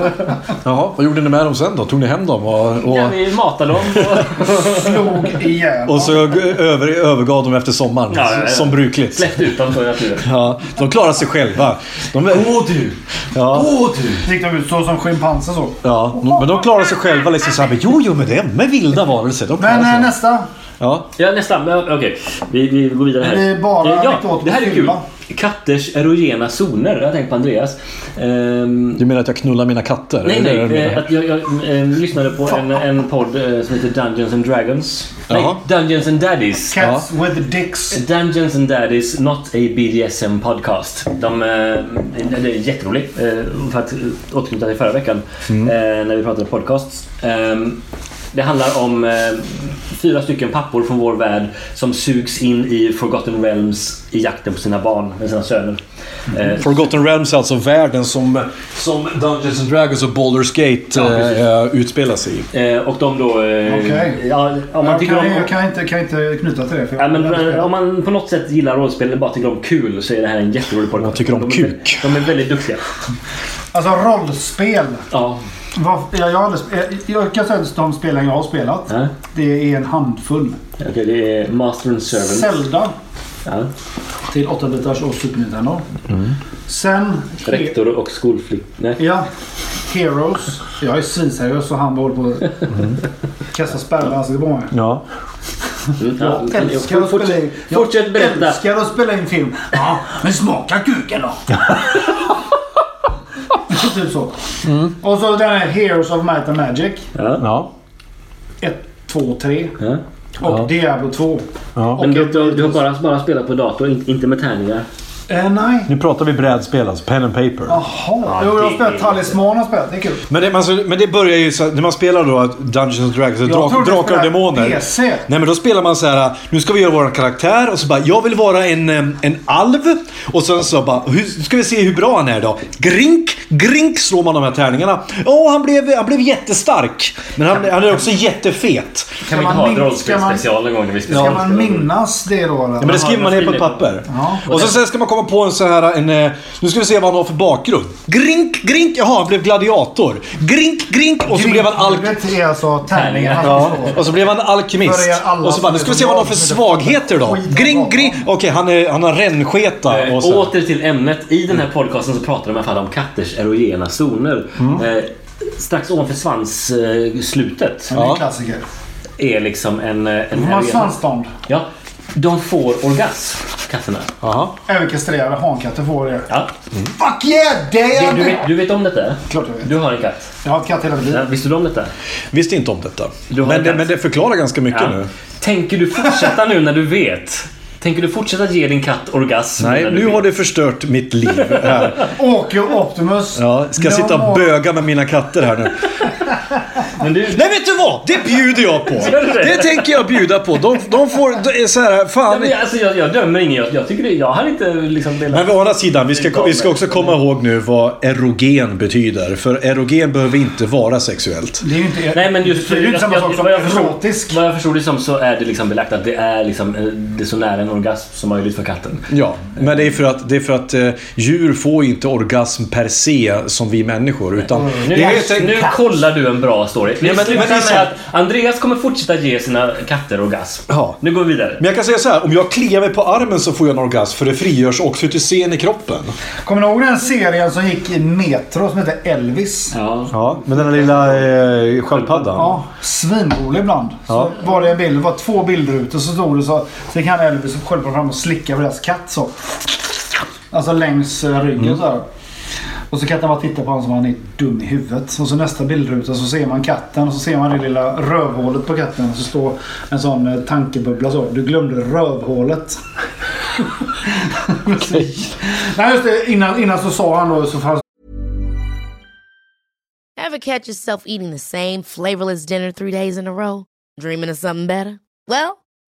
Jaha, vad gjorde ni med dem sen då? Tog ni hem dem? Och, och, Ja, vi matade dem. och- Slog ihjäl. och så över, övergav de efter sommaren. Ja, ja, ja. Som brukligt. Släppt utanför naturen. Ja, de klarar sig själva. De, Åh du! ja. Åh du! Gick de ut så som schimpanser så. Ja, men de klarar sig själva liksom så här. men Jo, jo, men det är med vilda varelser. De klarar Men eh, sig. nästa. Ja. Ja nästan, men okej. Vi, vi går vidare här. Det är bara Eh, ja, anekdoter det här är på kul. filma. Katters erogena zoner. Jag har tänkt på Andreas. Ehm, Du menar att jag knullar mina katter? nej, Är det det du nej. menar? eh, Att jag, jag eh, lyssnade på en, en podd eh, som heter Dungeons and Dragons. Jaha. Nej, Dungeons and Daddies. Cats with dicks. Dungeons and Daddies, not a BDSM podcast. De, eh, det är jätteroligt. Eh, för att återknyta till förra veckan Mm. eh, när vi pratade podcasts. Eh, det handlar om eh, fyra stycken pappor från vår värld som sugs in i Forgotten Realms i jakten på sina barn, med sina söner. Eh, Forgotten Realms är alltså världen som, som Dungeons and Dragons och Baldur's Gate Ja, precis. eh, eh, utspelar sig i. eh, och de då... Eh, Okej. ja, om man Jag tycker kan, om, jag kan, inte, kan inte knyta till det. För jag- Ja, men, eh, om man på något sätt gillar rollspel eller bara tycker om kul så är det här en jätterolig podcast. man tycker om de är, kuk. De är väldigt duktiga. Alltså rollspel. Ja. Vad- Jag, jag, har aldrig sp- eh, jag, jag kan säga att de spelen jag har spelat, Ja. det är en handfull. Okej, det är Master and Servant. Zelda Ja. till Mm. 8-bitars och Super Nintendo. Sen... Rektor och skolflicka. Nej. Ja. Heroes. Jag är svinseriös och han bara håller på Mm. att kasta spärrar Alltså, i ansiktet på mig. Ja. Mm, Ja, Älskar att spela in. fortsätt, jag fortsätt berätta. Älskar att spela in film. Ja, men smaka kuken då. typ så. Mm. Och så den här Heroes of Might and Magic. Ja. 1, 2, 3. Ja. Och Ja. Diablo 2. ja. Men Och du, ett- du, du har bara, bara spelat på dator, inte, inte med tärningar. Eh, nej. Nu pratar vi brädspel, alltså pen and paper. Jaha. Jo, jag har spelat Talisman har spelat. Det är kul. Men det, alltså, men det börjar ju så, när man spelar då Dungeons and Dragons, drak, trodde du Drakar och spelade Demoner. PC. Nej men då spelar man så här. nu ska vi göra vår karaktär och så bara, jag vill vara en, eh, en alv. Och sen så bara, hur, ska vi se hur bra han är då. Grink, grink slår man de här tärningarna. Åh, han blev, han blev jättestark. Men han, han är också jättefet. Ska Kan vi inte man ha ett min- rollspelspecial någon gång när vi Ska spelar? man, ska man minnas det då? Eller? Ja, men det skriver man ner på ett skriver- papper. Ja. Och så sen ska man komma på en så här, en, eh, nu ska vi se vad han har för bakgrund. Grink, grink, jaha han blev gladiator. Grink, grink och så blev han alk... Grindgulvet är alltså tärningar. Tärningar, han Ja, slår. och så blev han alkemist. För er alla Och så bara, nu ska vi se vad han har för svagheter då. Gring, gring. Okej, han, är, han har rännsketa. Eh, Och så. Åter till ämnet. I Mm. den här podcasten så pratar de i alla fall om katters erogena zoner. Mm. Eh, strax ovanför svansslutet Det är Ja. en klassiker. är liksom en... eh, en De har erogen- svansstånd. Ja. De får orgasm, katterna. Jaha. Även kastrerade hankatter får det. Ja. Fuck yeah! Det är Du, du, det! vet, du vet om detta? Klart jag vet. Du har en katt. Jag har haft katt hela mitt Ja, liv. Visste du om detta? Visste inte om detta. Du har Men det, en men det förklarar ganska mycket Ja. nu. Tänker du fortsätta nu när du vet? Tänker du fortsätta ge din katt orgasm? när Nej, du nu vet? har du förstört mitt liv här. Åke och Optimus. Ja, ska jag De sitta och har- böga med mina katter här nu? Men du... Nej, vet du vad? Det bjuder jag på! Det tänker jag bjuda på. De, de får... De är så här, Ja, fan. men jag- Alltså, jag, jag dömer ingen. Jag, jag tycker det, jag hade inte liksom velat... Men å andra sidan, vi ska, vi ska också komma ihåg nu vad erogen betyder. För erogen behöver inte vara sexuellt. Det är ju inte... Nej men just det är ju inte samma jag- sak jag- som vad jag förstod- erotisk. Vad jag förstod det som så är det liksom belagt att det är, liksom, eh, det är så nära en orgasm som möjligt för katten. Ja, men det är för att, det är för att eh, djur får inte orgasm per se som vi människor. Utan Mm, Nu, det är helt enkelt- nu kollar du en bra story. Vi men- men slutar det är så- med att Andreas kommer fortsätta ge sina katter orgasm. Ja. Nu går vi vidare. Men jag kan säga så här, om jag kliar mig på armen så får jag en orgasm för det frigörs oxytocin i kroppen. Kommer ni ihåg den serien som gick i Metro som hette Elvis? Ja. Ja, men den lilla eh, sköldpaddan. Ja, svinrolig ibland. Så var det en bild, det var två bildrutor så stod det så. Sen kan Elvis och sköldpaddan fram och slicka på deras katt så. Alltså längs eh, ryggen så här. Och så katten bara tittar på honom som han är dum i huvudet. Och så nästa bildruta så ser man katten och så ser man det lilla rövhålet på katten. Och så står en sån eh, tankebubbla så. Du glömde rövhålet. Nej just det, innan, innan så sa han då så fanns Ever catch yourself eating the same flavorless dinner three days in a row? Dreaming of something better? Well,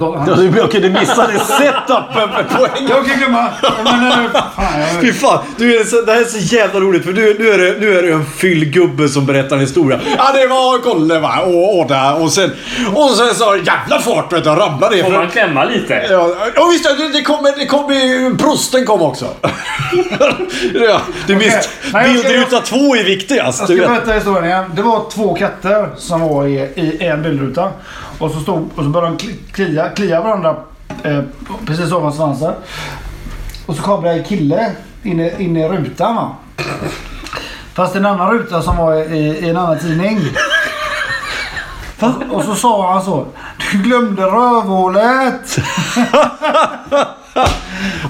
Okej, du missade setupen på poängen. Jag kan glömma. Men, eh, fan, jag... Fy fan, du är så, det här är så jävla roligt för nu, nu, är det, nu är det en fyllgubbe som berättar en historia. Ja, det var Kolle va, och, och där och sen... Och sen så jävla fart vet du, han ramlade ner. Får för- man klämma lite? Ja, och visst, det, det kommer, det kommer, prosten kom också. ja, du visst, Nej, jag ska- bildruta två är viktigast. Jag Du ska vet. berätta historien igen. Det var två katter som var i, i en bildruta. Och så, stod, och så började de kli- klia, klia varandra eh, precis ovan svansen. Och så kom det en kille in i, in i rutan va. Fast en annan ruta som var i, i en annan tidning. Fast, och så sa han så. Du glömde rövhålet.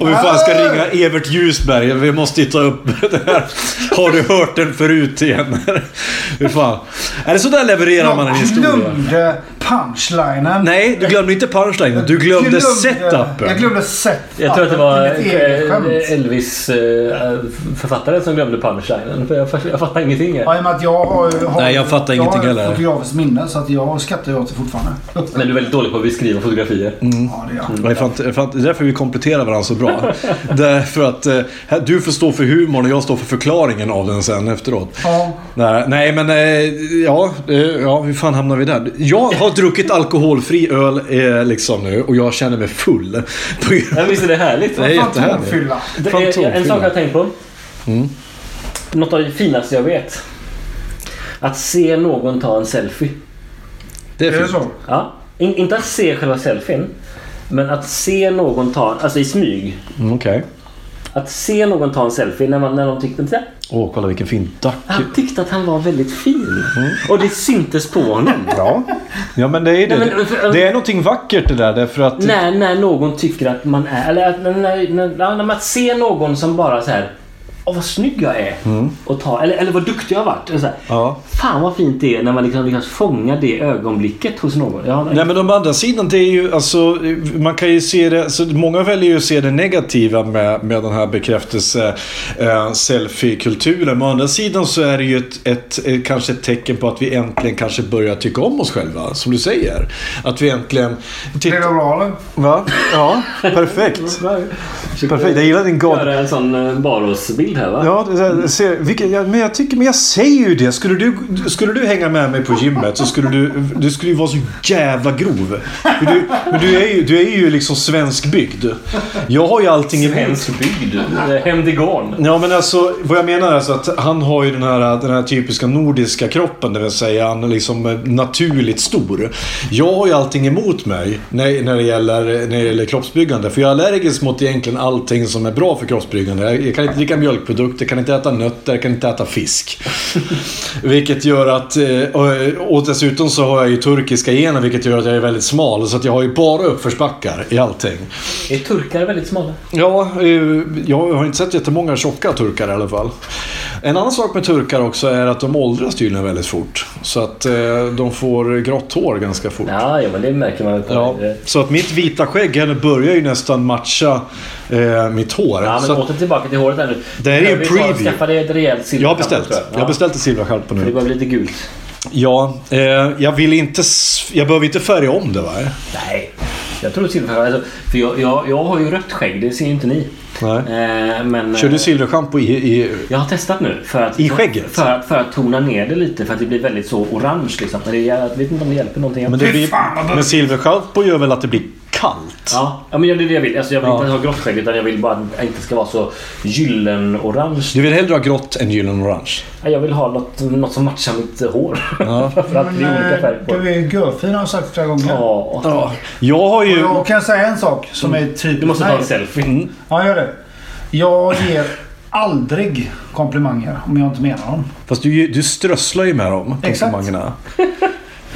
Och vi fan ska ringa Evert Ljusberg. Vi måste ju ta upp det här. Har du hört den förut igen? Hur fan. Är det så där levererar man en historia? glömde punchlinen. Nej, du glömde inte punchlinen. Du glömde, Glömde- setupen. Jag glömde setupen. Jag tror att det var eh, Mitt eget skämt. Elvis-författaren eh, som glömde punchlinen. För jag, fatt- jag fattar ingenting. Ja, Här. i och med att jag har, ju- har Nej, jag fattar Jag ingenting har heller. ett fotografiskt minne så att jag skrattar ju åt det fortfarande. Men du är väldigt dålig på att beskriva fotografier. Ja, det gör jag. Det är, för att, för att, det är därför vi kompletterar varandra så bra. Därför att eh, här- du får stå för humorn och jag står för förklaringen av den sen efteråt. Ja. Nej, nej men eh, ja, eh, ja, hur fan hamnar vi där? Jag har druckit alkoholfri öl eh, liksom nu och jag känner mig full. På grund- Men visst är det härligt? Det är jättehärligt. Fantomfylla. Det är, en sak jag har Fantomfylla. tänkt på. Något av det finaste jag vet. Att se någon ta en selfie. Det Är är det fint. så? Ja. In, inte att se själva selfien. Men att se någon ta en, alltså i smyg. Mm, Okej. Att se någon ta en selfie när, man, när de tyckte "Titta, Åh, kolla vilken fin duck. Han tyckte att han var väldigt fin. Och det syntes på honom. Ja. ja, men det är Nej, men, eh, det. för- Det är någonting vackert det där därför att... när, när någon tycker att man är... Eller att, när, när, när, när man ser någon som bara så här... Åh, vad snygg jag är. Mm. Och ta, eller, eller vad duktig jag har varit. Och Så här, Ja. Fan vad fint det är när man liksom lyckas fånga det ögonblicket hos någon. Ja, Nej men å andra sidan, det är ju alltså, man kan ju se det, alltså, många väljer ju att se det negativa med, med den här bekräftelse eh, selfie-kulturen. Men å andra sidan så är det ju ett, ett, eh, kanske ett tecken på att vi äntligen kanske börjar tycka om oss själva, som du säger. Att vi äntligen... Blev det Titta, bra eller? va? Ja, perfekt. Perfekt, jag gillar din god Göra en sån eh, Baros-bild här va? Mm. Ja, det- det- se, vilken, ja, men jag tycker, men jag säger ju det. Skulle du, skulle du hänga med mig på gymmet så skulle du, du skulle ju vara så jävla grov. Men du, men du är ju, du är ju liksom svenskbyggd. Jag har ju allting emot. Svensk bygd. Hem till gården. Ja men alltså, vad jag menar är alltså att han har ju den här, den här typiska nordiska kroppen, det vill säga han är liksom eh, naturligt stor. Jag har ju allting emot mig när, när, det, gäller, när det gäller kroppsbyggande. För jag är allergisk mot egentligen allting som är bra för kroppsbyggande. Jag, jag kan inte dricka mjölkprodukter, jag kan inte äta nötter, jag kan inte äta fisk. vilket gör att, eh, och- och dessutom så har jag ju turkiska gener vilket gör att jag är väldigt smal. Så att jag har ju bara uppförsbackar i allting. Är turkar väldigt smala? Ja, eh, jag har inte sett jättemånga tjocka turkar i alla fall. En annan sak med turkar också är att de åldras tydligen väldigt fort. Så att eh, de får grått hår ganska fort. Ja, ja men det märker man väl på. Ja, det. så att mitt vita skägg här nu börjar ju nästan matcha eh, mitt hår. Ja, men så att, åter tillbaka till håret här nu. Det här är ju en Vi tar- preview. Skaffa dig ett rejält silver. jag har beställt. tror Jag har beställt ett silverskärp på Ja, Det nu. var lite gult. Ja, eh, jag vill inte... s- Jag behöver inte färga om det va? Nej, jag tror silver. Alltså, för jag, jag, jag har ju rött skägg, det ser ju inte ni. Nej. Eh, men, Kör eh, du silverschampo i, i... Jag har testat nu för att, I skägget? För, att, för att tona ner det lite för att det blir väldigt så orange liksom. Men det, jag vet inte om det hjälper någonting. Men, det blir, men silverschampo gör väl att det blir kallt? Ja, ja, men det är det jag vill. Alltså, jag vill Ja. inte ha grått skägg utan jag vill bara att det inte ska vara så gyllenorange. Du vill hellre ha grått än gyllenorange? Nej, Jag vill ha något, något som matchar mitt eh, hår. för att det är eh, olika färger på. Du är görfin har jag sagt flera gånger. Ja. Ja, jag har ju... Jag kan säga en sak som är typ... Du måste ta en Nej. selfie. Mm. Ja, gör det. Jag ger aldrig komplimanger om jag inte menar dem. Fast du, du strösslar ju med dem, Exakt. komplimangerna.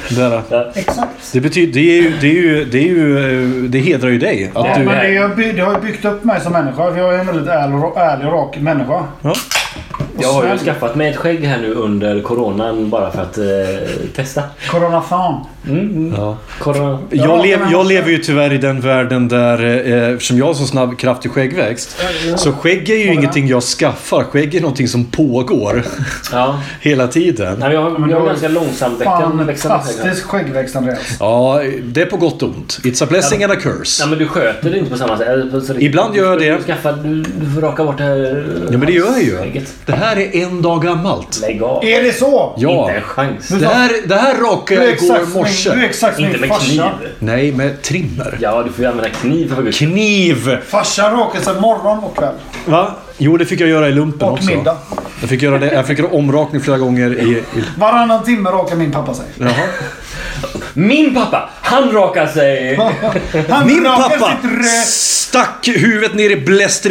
Där. Exakt. Det betyder... Det är ju... Det, är ju, det, är ju, eh, det hedrar ju dig. Att Men du... det, är, by- det har ju byggt upp mig som människa. Jag är en väldigt ärlig, och- ärlig och rak människa. Ja. Jag har ju snäll. skaffat mig ett skägg här nu under coronan bara för att eh, testa. Corona fan. Ja. Corona. Jag, lev, jag lever ju tyvärr i den världen där, eh, eftersom jag har så snabb kraftig skäggväxt, så skägg är ju ingenting jag skaffar. Skägg är någonting som pågår Ja. hela tiden. Nej, jag, har- Men jag du har har ganska ju långsamt växande- växande skägg. Fantastisk skäggväxt Andreas. Ja, det är på gott och ont. It's a blessing and a Ja, curse. men du sköter det inte på samma sätt. Eller på- så Ibland gör jag det. Du, skaffar, du, du får raka bort det här... Ja, men det gör jag ju. skägget. Det här är en dag gammalt. Lägg av. Är det så? Ja. Inte en chans. Det här, det här rakade Du är jag igår exakt i som min, du är morse. exakt som Inte min med farsa. kniv. Nej, med trimmer. Ja, du får ju använda kniv för guds skull. Kniv! Farsan rakade sig morgon och kväll. Va? Jo, det fick jag göra i lumpen Och också. middag. Jag fick göra det. Jag fick göra omrakning flera gånger i... i Varannan timme rakar min pappa sig. jaha. Min pappa, han rakar sig. Han Min rakar pappa sitt rö- stack huvudet ner i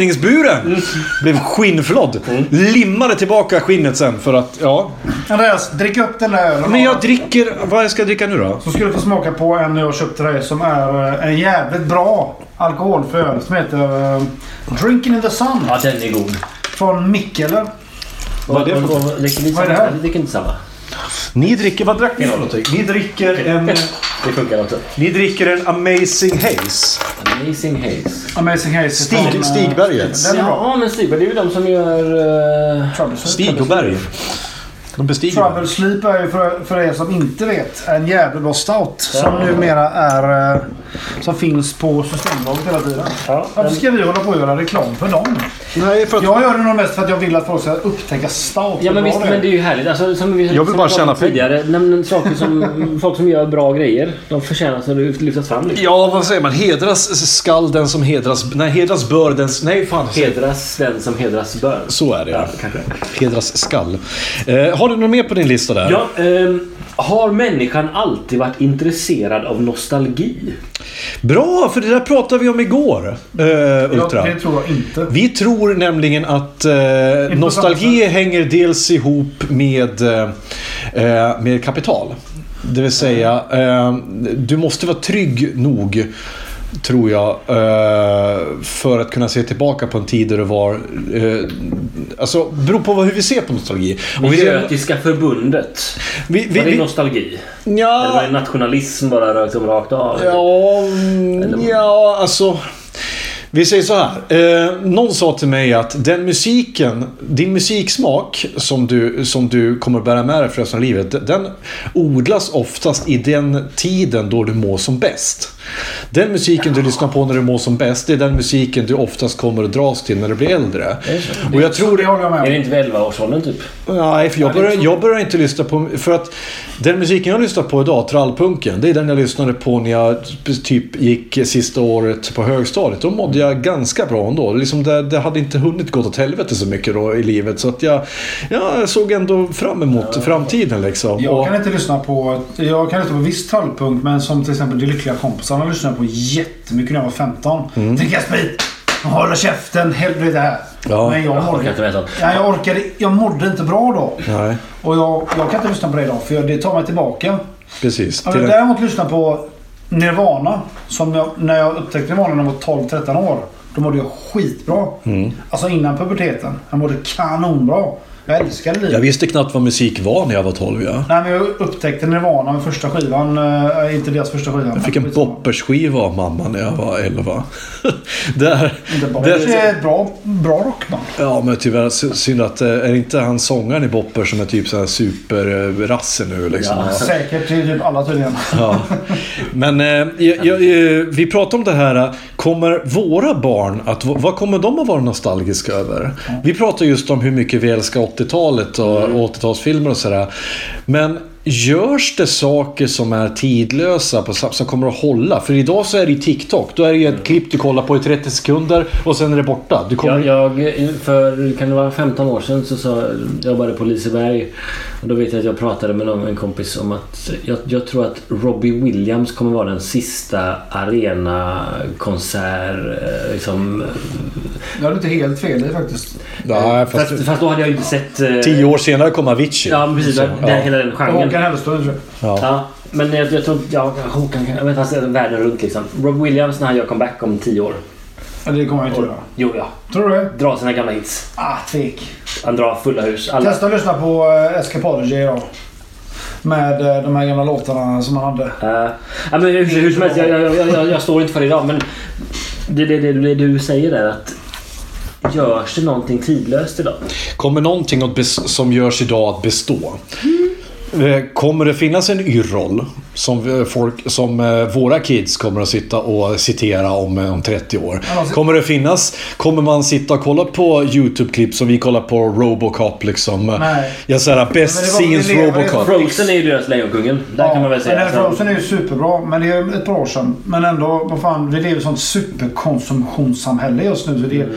blästringsburen. Blev skinnflådd. Limmade tillbaka skinnet sen för att, ja. Andreas, drick upp den där ölen. Men jag dricker, vad ska jag dricka nu då? Så ska du få smaka på en jag köpt till dig som är eh, en jävligt bra alkoholfri öl som heter eh, Drinking in the Sun Ja, den är god. från Mikkeller. Vad är det för- Och- och- dricker ni Vad är det samma? här? Vi dricker inte samma. Ni dricker, vad drack ni för någonting? Ni dricker en, Det funkar också. ni dricker en Amazing Haze. Amazing Haze. Amazing Haze. Stig- från, eh, Stigbergets. Den är bra. Ja, men Stigberg, det är ju de som gör... eh, Troubleshoot. Stig och Berg. De bestiger. Trouble Sleep är ju för, för er som inte vet en jävligt bra stout. Som numera är... eh, Som finns på Systembolaget hela tiden. Ja, Varför ska vi hålla på och göra reklam för dem? Nej, för att Jag gör det nog mest för att jag vill att folk ska upptäcka stout. Ja men Vad visst, det är. men det är ju härligt. Alltså, som vi, Jag vill som bara vi pratade om tjäna pengar. tidigare. Nämn saker som, folk som gör bra grejer. De förtjänar att lyftas fram liksom. lite. Ja, vad säger man? Hedras skall den som hedras... Nej, hedras bör den... Nej, fan. Hedras den som hedras bör. Så är det ja. kanske. Hedras skall. Eh, har du något mer på din lista där? Ja, ehm, har människan alltid varit intresserad av nostalgi? Bra, för det där pratade vi om igår. Eh, Ja, Ultra. det tror jag inte. Vi tror nämligen att eh, nostalgi hänger dels ihop med, eh, eh, med kapital. Det vill säga, eh, du måste vara trygg nog tror jag, eh, för att kunna se tillbaka på en tid där du var... Eh, alltså, beror på vad- hur vi ser på nostalgi. Och vi, Götiska förbundet. vi, vi, var det vi, nostalgi? Eller var ja, det nationalism bara liksom, rakt av? Ja, mm, Eller- ja, alltså. Vi säger så här. Eh, någon sa till mig att den musiken, din musiksmak som du, som du kommer bära med dig för resten av livet. d- Den odlas oftast i den tiden då du mår som bäst. Den musiken du lyssnar på när du mår som bäst, det är den musiken du oftast kommer att dras till när du blir äldre. Och jag tror Det håller jag med Är om. det inte vid 11-årsåldern typ? Nej, för jag börjar, jag börjar inte lyssna på... För att den musiken jag lyssnar på idag, trallpunken, det är den jag lyssnade på när jag typ gick sista året på högstadiet. Då mådde jag ganska bra ändå. Liksom det, det hade inte hunnit gått åt helvete så mycket då i livet. Så att jag, jag såg ändå fram emot framtiden liksom. Jag Och, kan inte lyssna på, jag kan lyssna på viss trallpunkt men som till exempel De Lyckliga Kompisarna lyssnade jag på jättemycket när jag var 15. Mm. Dricka sprit! Hålla käften! Helvete här! Ja. Men jag orkar inte med orkade, sånt. ja, jag orkade Jag mådde inte bra då. nej, Och jag, jag kan inte lyssna på det idag för jag- det tar mig tillbaka. precis. Om Till jag en, däremot lyssnar på Nirvana, som jag, när jag upptäckte Nirvana när jag var 12-13 år. Då mådde jag skitbra. Mm. Alltså innan puberteten. Jag mådde kanonbra. Jag älskade livet. jag visste knappt vad musik var när jag var 12. Ja. Nej men jag upptäckte Nirvana med första skivan. eh, inte deras första skiva. Jag fick en boppersskiva av mamma när jag var 11. där, Det är ett bra, bra rockband. Ja, men tyvärr sy- synd att... eh, Är inte han sångaren i Bopper som är typ så här superrasse nu liksom? Ja. Säkert till typ alla tydligen. Men eh, jag, jag, eh, vi pratar om det här. eh, Kommer våra barn att... Vad kommer de att vara nostalgiska över? Vi pratar just om hur mycket vi älskar 80-talet och 80-talsfilmer och sådär. Men görs det saker som är tidlösa på, sam- som kommer att hålla? För idag så är det ju TikTok. Då är det ju ett klipp du kollar på i 30 sekunder och sen är det borta. Du kommer... Jag, jag, för kan det vara 15 år sedan så, så jobbade jag på Liseberg. Och då vet jag att jag pratade med någon, en kompis om att jag, jag tror att Robbie Williams kommer vara den sista arenakonsert... eh, Liksom, Jag hade inte helt fel i faktiskt. Nej, fast... fast, fast då hade jag ju inte sett... eh, Tio år senare kom Avicii. Ja, men precis. Så, Den, ja. Hela den genren. Håkan Hellström tror Ja. Ja, men jag, jag tror... Ja, Håkan kan... Jag vet, han ser världen runt liksom. Rob Williams när han gör comeback om 10 år. jag. Det kommer jag inte göra. Jo, ja. Tror du det? Dra sina gamla hits. Ah, tvek. Han drar fulla hus. Alla, Testa att lyssna på eh, Escapology idag. Med eh, de här gamla låtarna som han hade. Eh, ja, men hur, hur som helst, jag, jag, jag, jag, jag står inte för det idag. Men det, det, det, det du säger där att görs det någonting tidlöst idag? Kommer någonting att bes- som görs idag att bestå? Eh, Kommer det finnas en yrroll som, eh, folk, som eh, våra kids kommer att sitta och citera om, eh, om 30 år? alltså- Kommer det finnas? Kommer man sitta och kolla på YouTube-klipp som vi kollar på Robocop liksom? Nej. Jag säger best Men det var- vi scenes lever i ett Robocop. Frozen är ju deras Lejonkungen. Där kan man väl säga. Alltså- men den Frozen är ju superbra, men det är ju ett Mm. par år sedan. Men ändå, vad fan, vi lever i ett sånt superkonsumtionssamhälle just nu. Så det,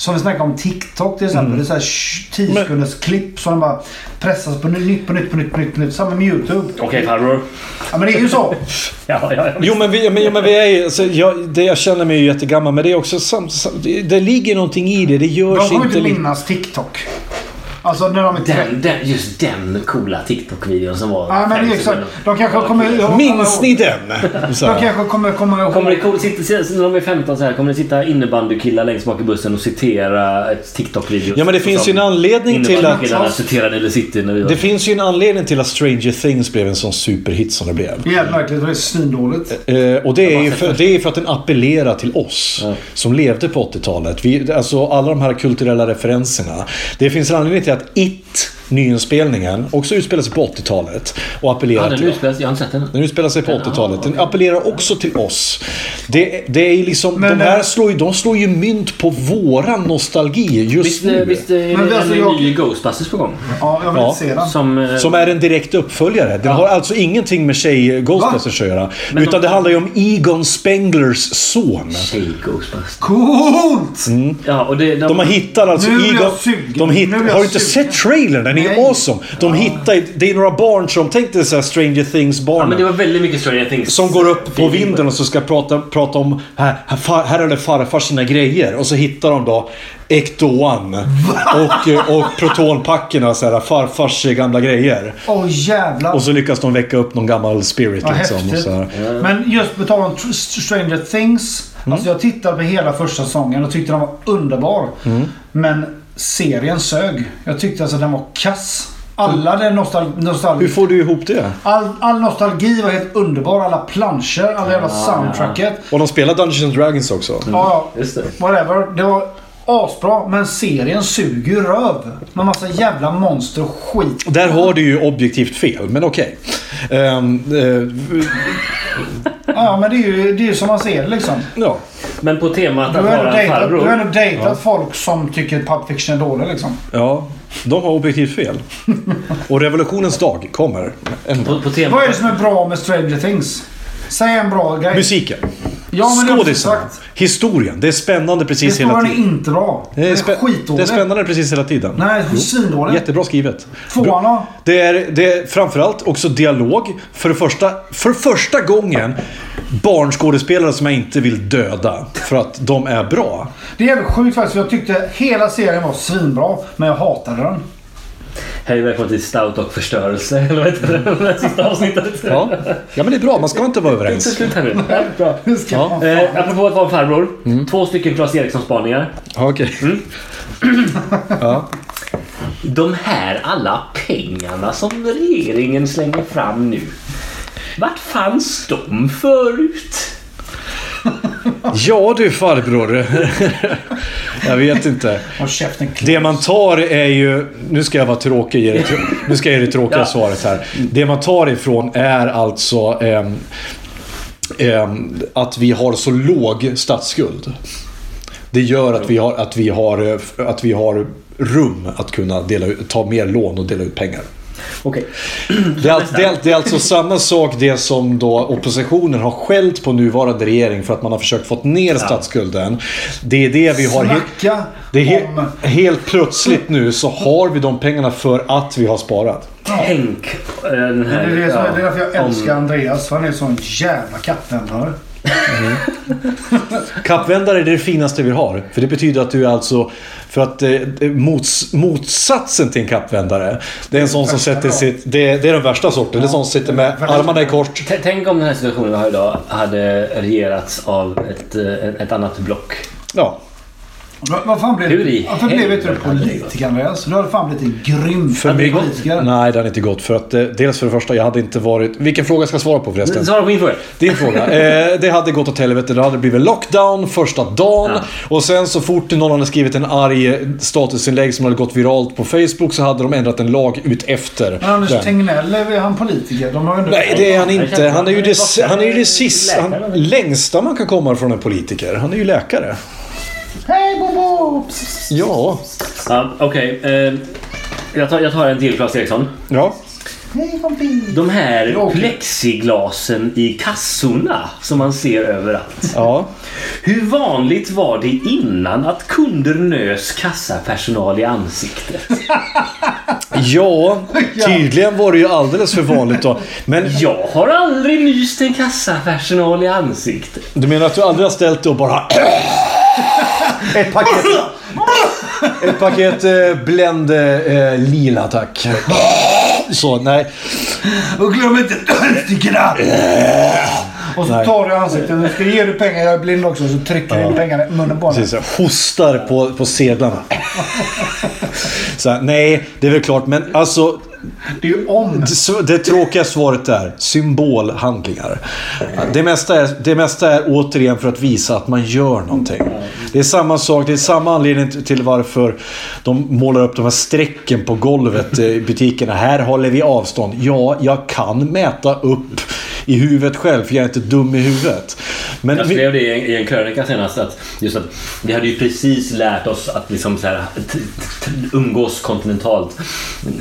Som vi snackade om TikTok till exempel. Det är så här sh- 10 sekunders klipp som bara pressas på nytt, på nytt, på nytt, på nytt. på nytt. Samma med YouTube. Okej farbror. Ja men det är ju så. Ja, ja, ja. Jo men vi, men, jo, men vi är ju- alltså, jag, det, jag känner mig ju jättegammal men det är också sam, sam, det, det ligger någonting i det. De Det görs kommer inte... inte li- minnas TikTok. Alltså när de är 30. Den, den, just den coola TikTok-videon som var... Ja men liksom- det är exakt. De kanske kommer... Minns ni den? Så De här. kanske kommer komma ihåg. Kommer det cool, sitta, sitta, när de är 15 så här, kommer det sitta innebandykillar längst bak i bussen och citera ett TikTok-video? Ja, men det finns ju en anledning till att- Innebandykillarna citerade eller City när vi var... Det finns ju en anledning till att Stranger Things blev en sån superhit som det blev. Det är helt märkligt och det är svindåligt. Eh, och det är ju för, det är för att den appellerar till oss som levde på 80-talet. Vi, alltså alla de här kulturella referenserna. Det finns en anledning till att IT, nyinspelningen, också utspelar sig på 80-talet. Och Ja, appellerar den till oss. utspelas. Jag har inte sett den. Den utspelar sig på 80-talet. Den appellerar också till oss. Det, det är ju liksom, Men, de här eh, slår ju, de slår ju mynt på våran nostalgi just Visst, eh, nu. visst eh, är Men det alltså, en jag- ny Ghostbusters på gång? Ja, jag vill Ja. inte se den. Som... eh, Som är en direkt uppföljare. Den har alltså ingenting med tjej Ghostbusters att göra. Men utan de- det handlar ju om Egon Spenglers son. Tjej Ghostbusters. Coolt! Ja, och det, De har hittat alltså Nu blir jag Egon... sugen. De Nu hitt, blir jag har du inte sugen. sett trailern? Den är ju Nej. awesome. De hittar... Det är några barn som... Tänk dig så här Stranger Ja, Things-barnen. men det var väldigt mycket Stranger Things. Som går upp på vinden och så ska prata, prata om här, här, far- här hade farfar sina grejer och så hittar de då Ectoan och, eh, och protonpackerna, så här, farfars eh, gamla grejer. Åh jävlar. Och så lyckas de väcka upp någon gammal spirit Ja, liksom. Och häftigt. så här. Men just på tal om Tr- Str- Stranger Things. Mm. Alltså jag tittade på hela första säsongen och tyckte den var underbar. Mm. Men serien sög. Jag tyckte alltså den var kass. Alla den nostal- nostalgi... Mm. Hur får du ihop det? All, all nostalgi var helt underbar. Alla planscher, alla jävla soundtracket. Och de spelar Dungeons and Dragons också. Ja, Just det. whatever. Det var asbra, men serien suger ju röv. Med massa jävla monster och skit. Där har du ju objektivt fel, men okej. Ehm, eh, Ja, men det är ju, det är ju som man ser det, liksom. ja. Men på temat Du att har ändå vara en dejtat, du har farbror. ändå dejtat folk som tycker Pulp Fiction är dålig liksom. ja, de har objektivt fel. Och revolutionens dag kommer. En På, på temat... Vad är det som är bra med Stranger Things? Säg en bra grej. Musiken. Ja, men det har jag precis Skådisarna. sagt. Historien. Det är spännande precis hela Historien är tiden. inte bra. Det är, Den är spä- skitdålig. det är spännande precis hela tiden. Nej, det är svindålig. Jättebra skrivet. Tvåan då? Det är, det är framförallt också dialog. För, det första, för första gången barnskådespelare som jag inte vill döda. För att de är bra. Det är jävligt sjukt faktiskt. för Jag tyckte hela serien var svinbra, men jag hatade den. Hej välkommen till Stout och förstörelse. Eller vad heter det? Det här sista avsnittet. Ja. ja, men det är bra. Man ska inte vara Det är överens. slut här nu. Ja, Bra. Ja. Mm. Eh, apropå att vara en farbror. Två stycken Claes Eriksson-spaningar. Ja, okej. De här alla pengarna som regeringen slänger fram nu. Vart fanns de förut? Ja du farbror. jag vet inte. Och käften klipp. Det man tar är ju... Nu ska jag vara tråkig. och ge det tr- Nu ska jag ge det tråkiga Ja. svaret här. Det man tar ifrån är alltså ehm, ehm, att vi har så låg statsskuld. Det gör att vi har, att vi har, eh, f- att vi har rum att kunna dela, ut- ta mer lån och dela ut pengar. Okej. Det är, al- det, är, det är alltså samma sak det som då oppositionen har skällt på nuvarande regering för att man har försökt få ner statsskulden. Det är det vi har... he- Snacka det är om- he- helt plötsligt nu så har vi de pengarna för att vi har sparat. Tänk eh, den Det här... är, det som, ja, det är därför jag om- älskar Andreas, för han är sån jävla kattvändare. Kappvändare är det finaste vi har. För det betyder att du är alltså... För att eh, mots, motsatsen till en kappvändare. Det är en sån som sätter sitt... Det, är- det är den värsta sorten. Det är en sån som sitter med armarna i kors. T- Tänk om den här situationen vi har idag hade regerats av ett, eh, ett annat block. Ja. Va- Vad fan blev Hur i du? Varför blev inte du helvete hade det gått? politiker Andreas? Du hade fan blivit en grym För mig- politiker. Nej, det hade inte gått. För att, eh, dels för det första, jag hade inte varit... Vilken fråga ska jag svara på förresten? Svara på min fråga. Din fråga. Eh, det hade gått åt helvete. Det hade blivit lockdown första dagen. Och sen så fort någon hade skrivit en arg statusinlägg som hade gått viralt på Facebook så hade de ändrat en lag ut efter Men Anders den. Tegnell, är han politiker? De har ju ändå... Nej, det är han Jag inte. känner- Han är ju det, han är ju det sista, Läkare. han, längsta man kan komma från en politiker. Han är ju läkare. Hej Bobo! Psst. Ja. Ja, Okej. eh, jag, tar, jag tar en till Claes Eriksson. Ja. Hej vampyr! De här Jo. plexiglasen i kassorna som man ser överallt. Ja. Hur vanligt var det innan att kunder nös kassapersonal i ansiktet? ja, tydligen var det ju alldeles för vanligt då. Men Jag har aldrig nyst en kassapersonal i ansiktet. du menar att du aldrig har ställt dig och bara... Ett paket... Ett paket eh, Blend eh, lila, tack. Så, nej. Och glöm inte tändstickorna! Och så Nej. tar du ansiktet. Nu ska jag ge dig pengar. Jag är blind också. Så trycker du in pengarna i munnen på honom. Precis, så här, hostar på, på sedlarna. Så här, nej, det är väl klart, men alltså... Det är ju om. Det, så- det tråkiga svaret är symbolhandlingar. Det mesta, är, det mesta är återigen för att visa att man gör någonting. Det är samma sak, det är samma anledning t- till varför de målar upp de här strecken på golvet eh, i butikerna. Här håller vi avstånd. Ja, jag kan mäta upp i huvudet själv, för jag är inte dum i huvudet. Men Jag vi- skrev det i en, i en krönika senast att, just att vi hade ju precis lärt oss att liksom så här, t- t- umgås kontinentalt.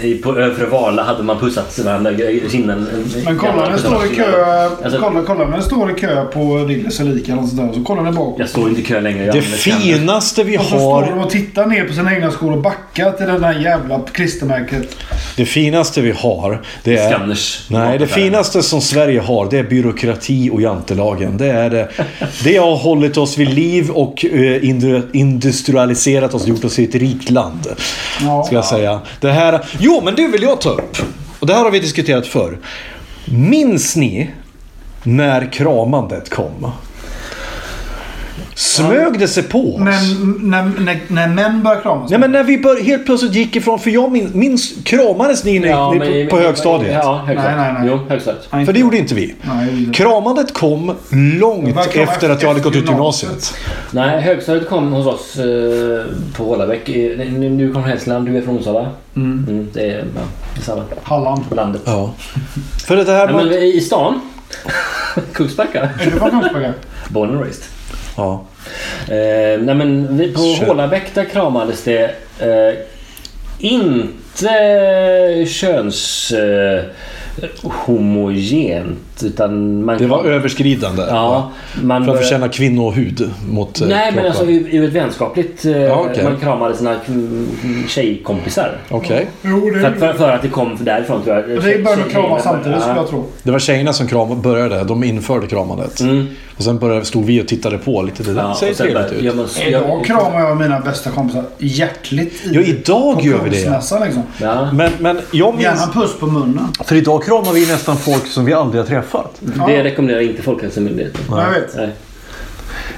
I- På Övre Vala hade man pussat varandra i kinden. Men kolla när den står i kö. eh, Alltså- Kolla, kolla när den står i kö på Riggles eller Ica eller något sånt där. Så kollar ni bak. Jag står inte i kö längre. Jag det använder kläder. finaste vi Och så står har de och tittar ner på sina egna skor och backar till det där jävla klistermärket. Det finaste vi har, det är... Skanners. Nej, det Mataffären. finaste som Sverige har, det är byråkrati och jantelagen. Det är det. Det har hållit oss vid liv och eh, indu- industrialiserat oss, gjort oss till ett rikt land. Ja. Ska jag säga. Det här... Jo, men det vill jag ta upp. Och det här har vi diskuterat förr. Minns ni när kramandet kom? Smög det sig på oss? Men när, när, när män börjar kramas. Nej men när vi bör, helt plötsligt gick ifrån, för jag minns, minns kramades ni, Ja, ni, men- på, på högstadiet? Ja, högstadiet. Nej, nej, nej. Jo, högstadiet. För det gjorde inte vi. Nej. Kramandet kom långt Vad kom efter att jag hade gått ut efter gymnasiet. Nej, högstadiet kom hos oss eh, på Hålabäck. Eh, Nu nu kommer Hälsingland, du är från Onsala. Mm. det är ja, det är samma. Halland. Landet. Ja. För det här Nej, med... men i i stan. Kungsbacka. Är du från Kungsbacka? Born and raised. Ja. Eh, nej men vi på Kör. Hålabäck där kramades det eh, inte köns eh, homogent utan man Det var överskridande. ja, man För att började- förtjäna kvinnohud mot eh, Nej men kroppen. alltså ur, ur ett vänskapligt eh, Ja, okej. man kramade sina mm, tjejkompisar. Okej. Jo, För, att- det för, för att det kom därifrån tror jag. Vi börjar nog kramas Tjejerna- samtidigt skulle jag tro. Det var tjejerna som kram, började. De införde kramandet. Mm. Och sen började, stod vi och tittade på lite. Det där Ja, ser och sen trevligt började- ut. jag måste- Idag jag- kramar jag mina bästa kompisar hjärtligt. i- Ja, idag på gör vi det. Kungsmässan, Liksom. Ja, Men, men jag minns... Gärna en puss på munnen. För idag kramar vi nästan folk som vi aldrig har träffat. det rekommenderar inte Folkhälsomyndigheten. Ja, Jag vet. Nej.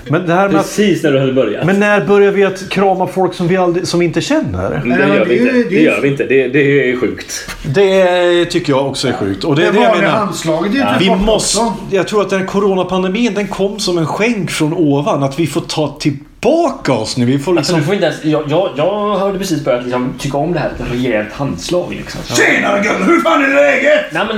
Men det här med att... Precis när du hade börjat. Men när börjar vi att krama folk som vi, aldrig, som vi inte känner? Men det, Nej, men gör det vi är ju- inte. det Det, är ju- gör vi inte. Det, det är sjukt. Det tycker jag också är sjukt. Och det, Det är det jag vanliga menar. handslaget är ju Vi typ borta måste, också. jag tror att den här coronapandemin den kom som en skänk från ovan. Att vi får ta tillbaka oss nu. Vi får Alltså, liksom... du får inte ens, jag, jag, jag hörde precis börjat liksom, tycka om det här ett rejält handslag. Liksom. Tjenare gubben, hur fan är läget? Nej, men,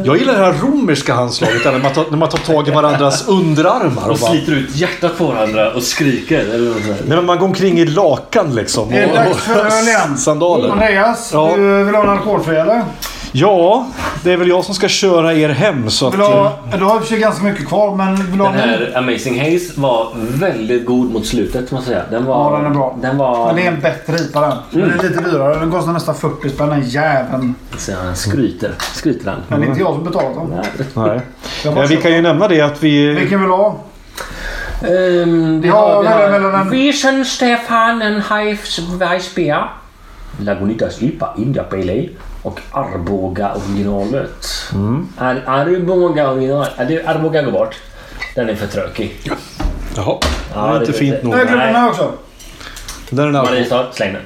eh, Jag gillar det här romerska handslaget. Där när, man tar, när man tar tag i varandras underarmar. Och och bara, sliter ut hjärtat på varandra och skriker. Eller något sånt där. nej, men man går omkring i lakan liksom. Är det dags för och- öl igen? Mm. Sandaler. Andreas, Ja. du vill ha en alkoholfri eller? Ja, det är väl jag som ska köra er hem. Så att, Vill ha, du har i och för sig ganska mycket kvar men vill du ha Den en ny? här Amazing Haze var väldigt god mot slutet måste jag säga. Den var... Ja den är bra. Den var... Men det är en bättre IPA den. Den är Mm. lite dyrare. Den kostar nästan 40 spänn den jäveln. Så han skryter. Skryter han. Men det är inte jag som betalat den. Nej. nej. Jag bara Eh, Mm. Vi kan ju nämna det att vi... Vilken vill du ha? Ehm, vi Ja, har, vi mellan- har mellan- Vision Stefan en Hives Weissbier. Lagunitas IPA India Pale Ale och Arboga originalet. Ar Arboga originalet. Ja, det- Arboga går bort. Den är för trökig. Jaha, Ja, det är inte det- fint det- nog. Jag glömde den Nej. här också. Den är, en alkohol, Mariestad, släng den.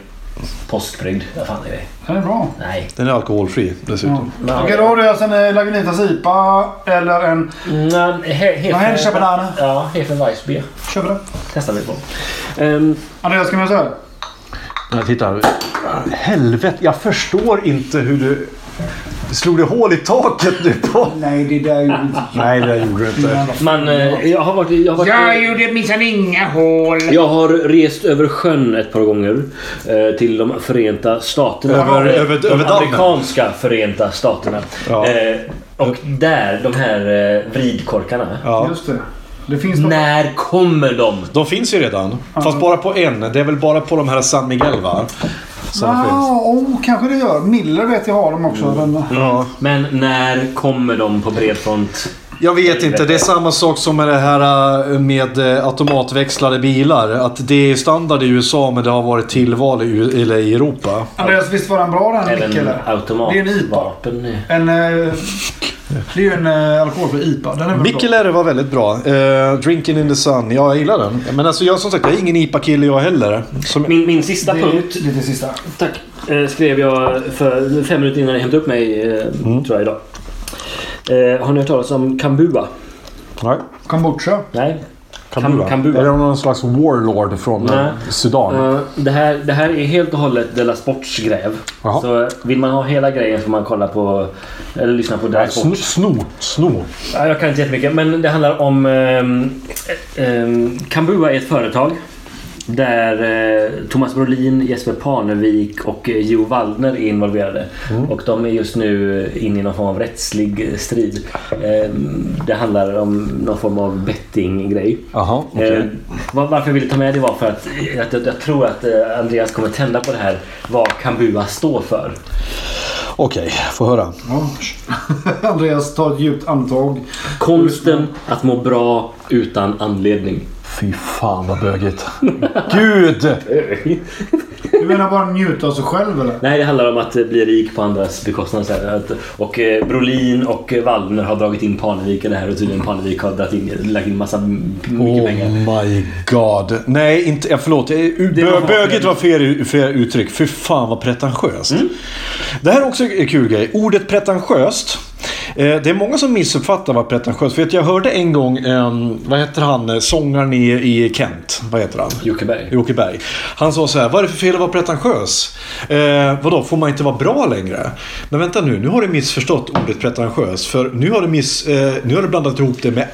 Påskbrygd. Vad fan är det? Den är bra. Nej. den är alkoholfri Ja. dessutom. Okej då har du alltså en eh, Lagunitas IPA eller en... Mm, he, he, Vad händer, Chabanana? Ja, Hefe Weissbier. Köper det. Testar vi på. Ehm, Andreas, kan vi säga Ja, titta. Helvete, jag förstår inte hur du... Slog det hål i taket nu på... Nej, det där gjorde inte Nej, det gjorde det inte. Man, eh, jag har varit... Jag har varit gjorde minsann inga hål. Jag har rest över sjön ett par gånger eh, till de Förenta Staterna. Över- över- de över dammen. amerikanska Förenta Staterna. Ja. Eh, och där, de här eh, vridkorkarna. Ja. Just det. Det finns något. När kommer de? De finns ju redan. Fast bara på en. Det är väl bara på de här San Miguel va? Som finns. Ah, oh, kanske det gör. Miller vet jag har dem också. Men, Ja. Men när kommer de på bred front? Jag vet inte. Det är samma sak som med det här eh, med eh, automatväxlade bilar. Att det är standard i USA men det har varit tillval i, U- eller i Europa. Andreas, visst var den bra den Mick? Även eller? Det är en IPA. automatvapen. En, eh, det är ju en eh, alkoholfri IPA. Den är väl bra. Mikkeler var väldigt bra. Eh, Drinking in the sun. Ja, jag gillar den. Men alltså jag som sagt, jag är ingen IPA-kille jag heller. Som, Min, min sista Det punkt är, det är det sista. Tack. Eh, skrev jag för fem minuter innan ni hämtade upp mig, eh, Mm. tror jag idag. Eh, har ni hört talas om Kambua? Nej. Kombucha. Nej. Kambua. Kam- Kambua. Är det någon slags warlord från Nej. eh, Sudan? Eh, det, här, det här är helt och hållet Della Sports gräv. Jaha. Så eh, vill man ha hela grejen får man kolla på eller lyssna på Della Snor, Sport. snor, snor. Ja, jag kan inte jättemycket men det handlar om... ehm, ehm, Kambua är ett företag. Där eh, Thomas Brolin, Jesper Parnevik och eh, Jo Waldner är involverade. Och de är just nu inne i någon form av rättslig strid. Ehm, det handlar om någon form av bettinggrej. Jaha, okej. Eh, var, varför jag ville ta med det var för att, eh, att jag, jag tror att eh, Andreas kommer tända på det här. Vad Kambua står för. Okej, få höra. Andreas tar ett djupt andetag. Konsten att må bra utan anledning. Fy fan vad bögigt. Gud! Eh. Du menar bara njuta av sig själv eller? Nej, det handlar om att eh, bli rik på andras bekostnad. så här. Att- Och eh, Brolin och eh, Wallner har dragit in Parnevik i det här och tydligen Parnevik har dragit in, lagt in massa m- mycket Oh pengar. my god. Nej, inte, ja, förlåt. Jag- u- Det var- Bö, bögigt var fel, fel uttryck. Fy fan vad pretentiöst. Mm. Det här är också en kul grej. Ordet pretentiöst. eh, Det är många som missuppfattar vad pretentiöst För att jag hörde en gång, em, vad heter han, eh, sångaren i, i Kent. Vad heter han? Jocke Berg. Jocke Berg. Han sa så här, vad är det för fel att vara pretentiös? Eh, vadå, får man inte vara bra längre? Men vänta nu, nu har du missförstått ordet pretentiös. För nu har du, miss, eh, nu har du blandat ihop det med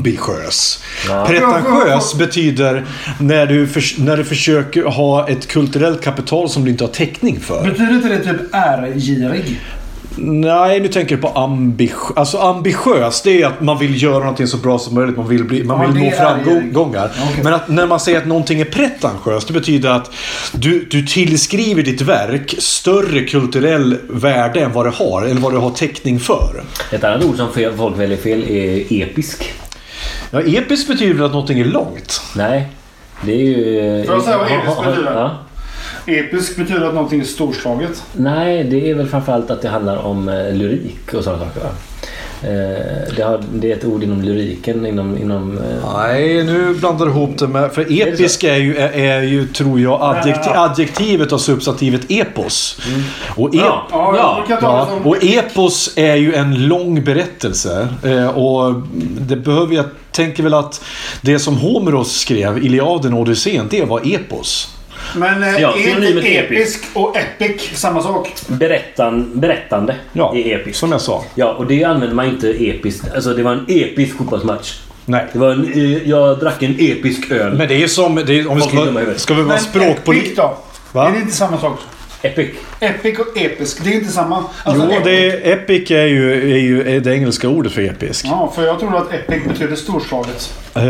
ambitiös. Pretentiös betyder när du, förs- när du försöker ha ett kulturellt kapital som du inte har täckning för. Betyder inte det typ ärgirig? Nej, nu tänker du på ambitiös. Alltså ambitiös, det är att man vill göra någonting så bra som möjligt. Man vill, bli, man Ja, vill det nå är- framgångar. Okej. Men att när man säger att någonting är pretentiöst, det betyder att du, du tillskriver ditt verk större kulturell värde än vad det har, eller vad du har täckning för. Ett annat ord som fel, folk väljer fel är episk. Ja, episkt betyder väl att någonting är långt. Nej, det är ju... eh, Får jag säga vad episk Ja, ja, betyder? ja. Episk betyder att någonting är storslaget. Nej, det är väl framförallt att det handlar om eh, lyrik och sådana saker. Va? Eh, Det, har, det är ett ord inom lyriken, inom... inom eh, Nej, nu blandar du ihop det med... För episk är ju, är, är ju tror jag, adjekti- adjektivet av substantivet epos. Och ep- Ja. Mm. Ja, jag brukar ta Ja, det som... och epos är ju en lång berättelse. Eh, och det behöver jag tänker väl att det som Homeros skrev, Iliaden och Odysseen, det var epos. Men eh, Ja, är synonymet inte är episk och epic samma sak? berättan, berättande Ja, är episkt. som jag sa. Ja, och det använder man inte episkt. Alltså det var en episk fotbollsmatch. Nej. Det var en, eh, jag drack en episk öl. Men det är ju som... Det är, om vi Folk är ska, dumma i vara- huvudet. ska vi vara epic språkpolitiker? då? Va? Är det inte samma sak? Epic. Epic och episk, det är inte samma. Alltså, Jo, epic- det är, epic är ju, är ju är det engelska ordet för episk. Ja, för jag tror att epic betyder storslaget. Eh,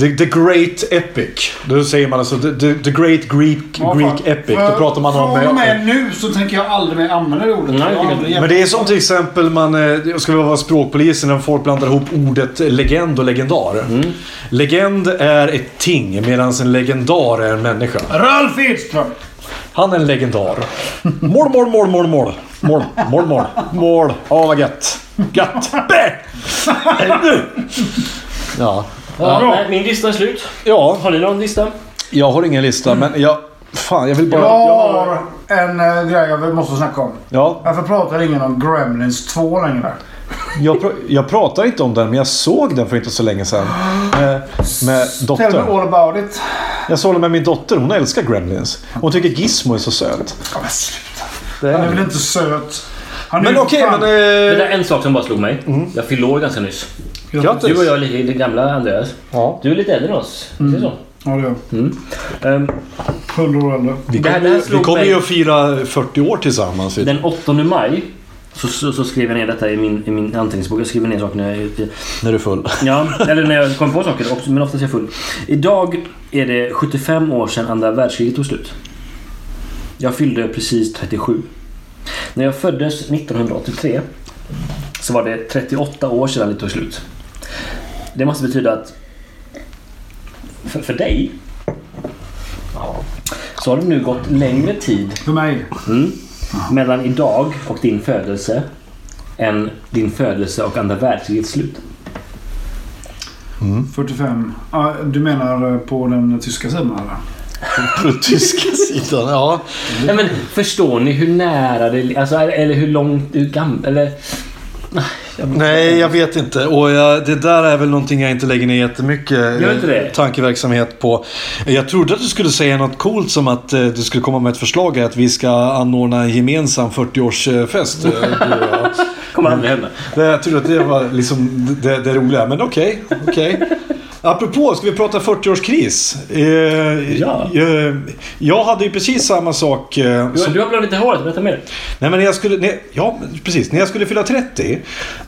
the, the Great Epic. Då säger man alltså The, the, the Great Greek, Ja, Greek fan. Epic. För- Då pratar man om... från och med nu så tänker jag aldrig mer använda det ordet. Nej, jag har det- aldrig Men det är som till exempel man, eh, ska vi vara språkpolisen, när folk blandar ihop ordet legend och legendar. Legend är ett ting medan en legendar är en människa. Ralf Edström! Han är en legendar. Mål, mål, mål, mål, mål. Mål, mål, mål. Mål. Ja, vad gött. Gött. Bä! Nu! Ja. Ja, nej, min lista är slut. ja, Har ni någon lista? jag har ingen lista men jag... Fan, jag vill bara... Jag har en äh, grej jag måste snacka om. Ja, Varför pratar ingen om Gremlins 2 längre? jag, pr- jag pratar inte om den men jag såg den för inte så länge sedan. eh, Med, med Tell me dottern. all about it. Jag såg det med min dotter. Hon älskar Gremlins. Hon tycker Gizmo är så söt. Ja, men sluta. Det Han är är... väl inte söt? Han är Men ju okej, fan- men... Det Eh, där är en sak som bara slog mig. Mm. Jag fyllde år ganska nyss. grattis! Du och jag är lite gamla Andreas. Ja. Mm. Du är lite äldre än oss. Ser det så? Ja, det gör Ehm, jag. 100 år äldre. Vi Det här- det kommer, här ju- vi slog kommer mig. ju att fira 40 år tillsammans. Den 8 maj så, så, så skrev jag ner detta i min, i min anteckningsbok. Jag skriver ner saker när jag När du är full. Ja, eller när jag kommer på saker. också, Men oftast är jag full. Idag är det 75 år sedan andra världskriget tog slut. Jag fyllde precis 37. När jag föddes 1983 så var det 38 år sedan det tog slut. Det måste betyda att för, för dig ja, så har det nu gått längre tid För mig. mellan idag och din födelse än din födelse och andra världskrigets slut. 45. Ja, du menar eh, på den tyska sidan eller? På tyska sidan, ja. Nej, men förstår ni hur nära det alltså, eller hur långt, hur gammal, eller... Nej, jag vet inte. Och jag, det där är väl någonting jag inte lägger ner jättemycket Gör inte det? eh, tankeverksamhet på. Jag trodde att du skulle säga något coolt som att eh, du skulle komma med ett förslag att vi ska anordna en gemensam 40-årsfest. eh, du och jag. Kommer aldrig hända. Det- Jag trodde att det var liksom det, det roliga, men okej. okej. Apropå, ska vi prata 40-årskris? Eh, Ja. eh, jag hade ju precis samma sak eh, Du, som du har blivit lite håret, berätta mer. Nej men när jag skulle, när, ja men precis, när jag skulle fylla 30.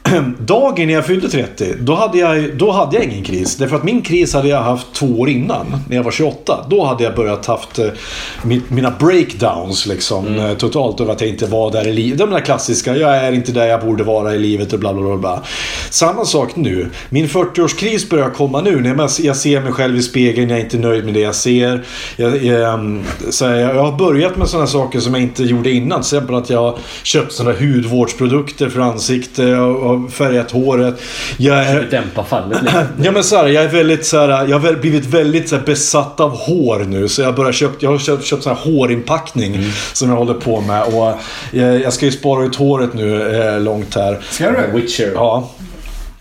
dagen när jag fyllde 30, då hade jag, då hade jag ingen kris. Därför att min kris hade jag haft två år innan, när jag var 28. Då hade jag börjat haft eh, mi- mina breakdowns liksom Mm. eh, totalt över att jag inte var där i livet. De där klassiska, jag är inte där jag borde vara i livet och bla bla bla. bla. Samma sak nu. Min 40-årskris börjar komma nu. När jag- jag ser mig själv i spegeln, jag är inte nöjd med det jag ser. Jag, jag, så här, jag har börjat med sådana saker som jag inte gjorde innan. Till exempel att jag har köpt sådana hudvårdsprodukter för ansikte och har färgat håret. Jag är, Dämpa fallet lite. Ja men så här, jag är väldigt så här, jag har väl- blivit väldigt så här, besatt av hår nu. Så jag, börjar köpt, jag har köpt, köpt så här hårinpackning som jag håller på med. Och jag, jag ska ju spara ut håret nu eh, långt här. Ska du? Witcher. Ja.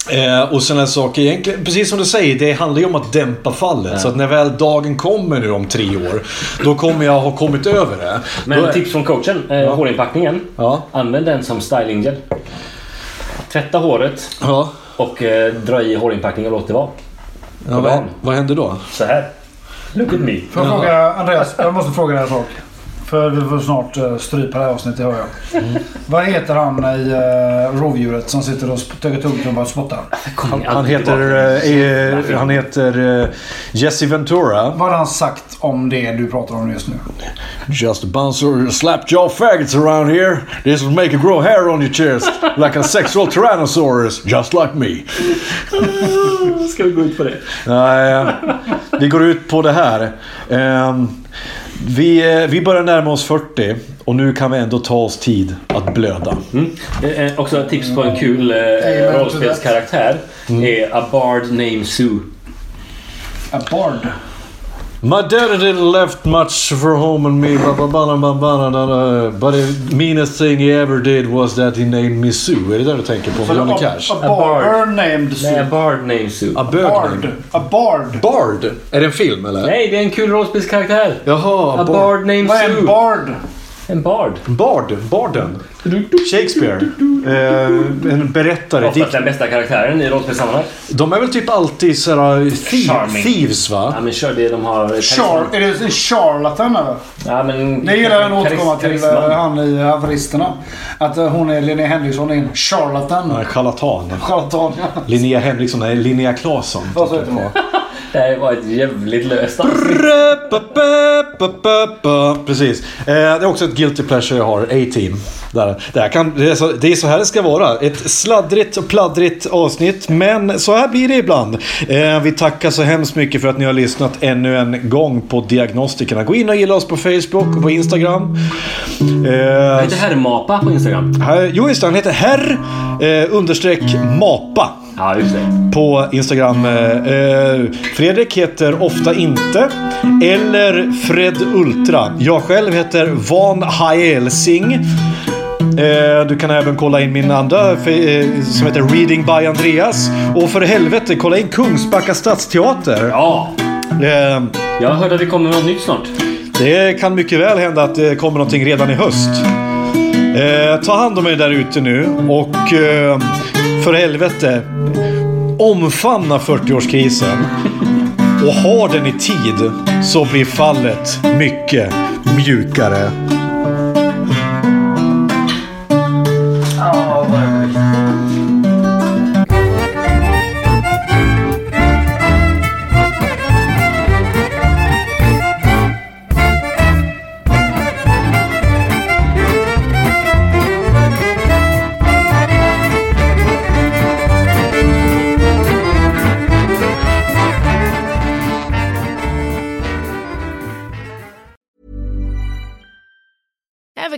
Eh, och sådana saker. Egentligen, precis som du säger, det handlar ju om att dämpa fallet. Så att när väl dagen kommer nu om tre år, då kommer jag ha kommit över det. Men då är, tips från coachen, eh, hårinpackningen. Ja. Använd den som stylinggel. Tvätta håret ja, och eh, dra i hårinpackningen och låt det vara. ja, vad, vad händer då? Så här. Look at me. Får jag fråga Andreas? Jag måste fråga dig en sak. För vi får snart eh, strypa det här avsnittet hör jag. Vad heter han i uh, rovdjuret som sitter och sp- tuggar tuggummi och spottar? Kommer Han aldrig heter, tillbaka. eh, eh, han heter eh, Jesse Ventura. Vad har han sagt om det du pratar om just nu? Just a bunch of slapjaw faggots around here. This will make you grow hair on your chest like a sexual tyrannosaurus, just like me. Ska vi gå ut på det? Nej, eh, vi går ut på det här. Ehm, Vi, eh, vi börjar närma oss 40 och nu kan vi ändå ta oss tid att blöda. Eh, eh, också ett tips på en kul eh, Amen to rollspelskaraktär. Är A Bard Named Sue. A bard. My daddy didn't left much for home and me, ba- ba- ba- ba- ba- ba- ba- but the meanest thing he ever did was that he named me Sue. Är det det du tänker på? Johnny Cash? A, a bard. named Nej, A Sue. Bard Named Sue. A bög Bard. named- A bard. Bard? Är det en film eller? Nej, det är en kul rollspelskaraktär. Jaha, A Bard Named Vad är Sue. en bard? En bard. Bard, barden. Shakespeare. Eh, en berättare. Oftast Dikt. den bästa karaktären i rollspelssammanhang. De är väl typ alltid såhär Charming. thieves Ja va? men kör det de har... eh, Char- är det en charlatan eller? Ja, men... Det gillar jag att återkomma Karis- till karisma. eh, han i Haveristerna. Att eh, hon är Linnea Henriksson är en charlatan. Nej, Charlatan. Charlatan. Linnea Henriksson, nej Linnea Claesson. Vad så heter hon? Det här var ett jävligt löst avsnitt. Ra-pa-pa-pa-pa. Precis. Eh, Det är också ett guilty pleasure jag har. A-team. Där. Det, här kan, det, är så, det är så här det ska vara. Ett sladdrigt och pladdrigt avsnitt. Men så här blir det ibland. Eh, Vi tackar så hemskt mycket för att ni har lyssnat ännu en gång på Diagnostikerna. Gå in och gilla oss på Facebook och på Instagram. Eh, Heter Herrmapa på Instagram? här- Jo, just det. Han heter herr eh, understreck mapa Ja, just det. på Instagram. Eh, eh, Fredrik heter ofta inte. Eller Fred Ultra. Jag själv heter Van Haelsing. Eh, Du kan även kolla in min andra fe- eh, som heter Reading by Andreas. Och för helvete, kolla in Kungsbacka stadsteater. Ja! Eh, Jag hörde att det kommer något nytt snart. Det kan mycket väl hända att det kommer någonting redan i höst. Eh, ta hand om er där ute nu och eh, för helvete, omfamna 40-årskrisen. Och ha den i tid så blir fallet mycket mjukare. Ever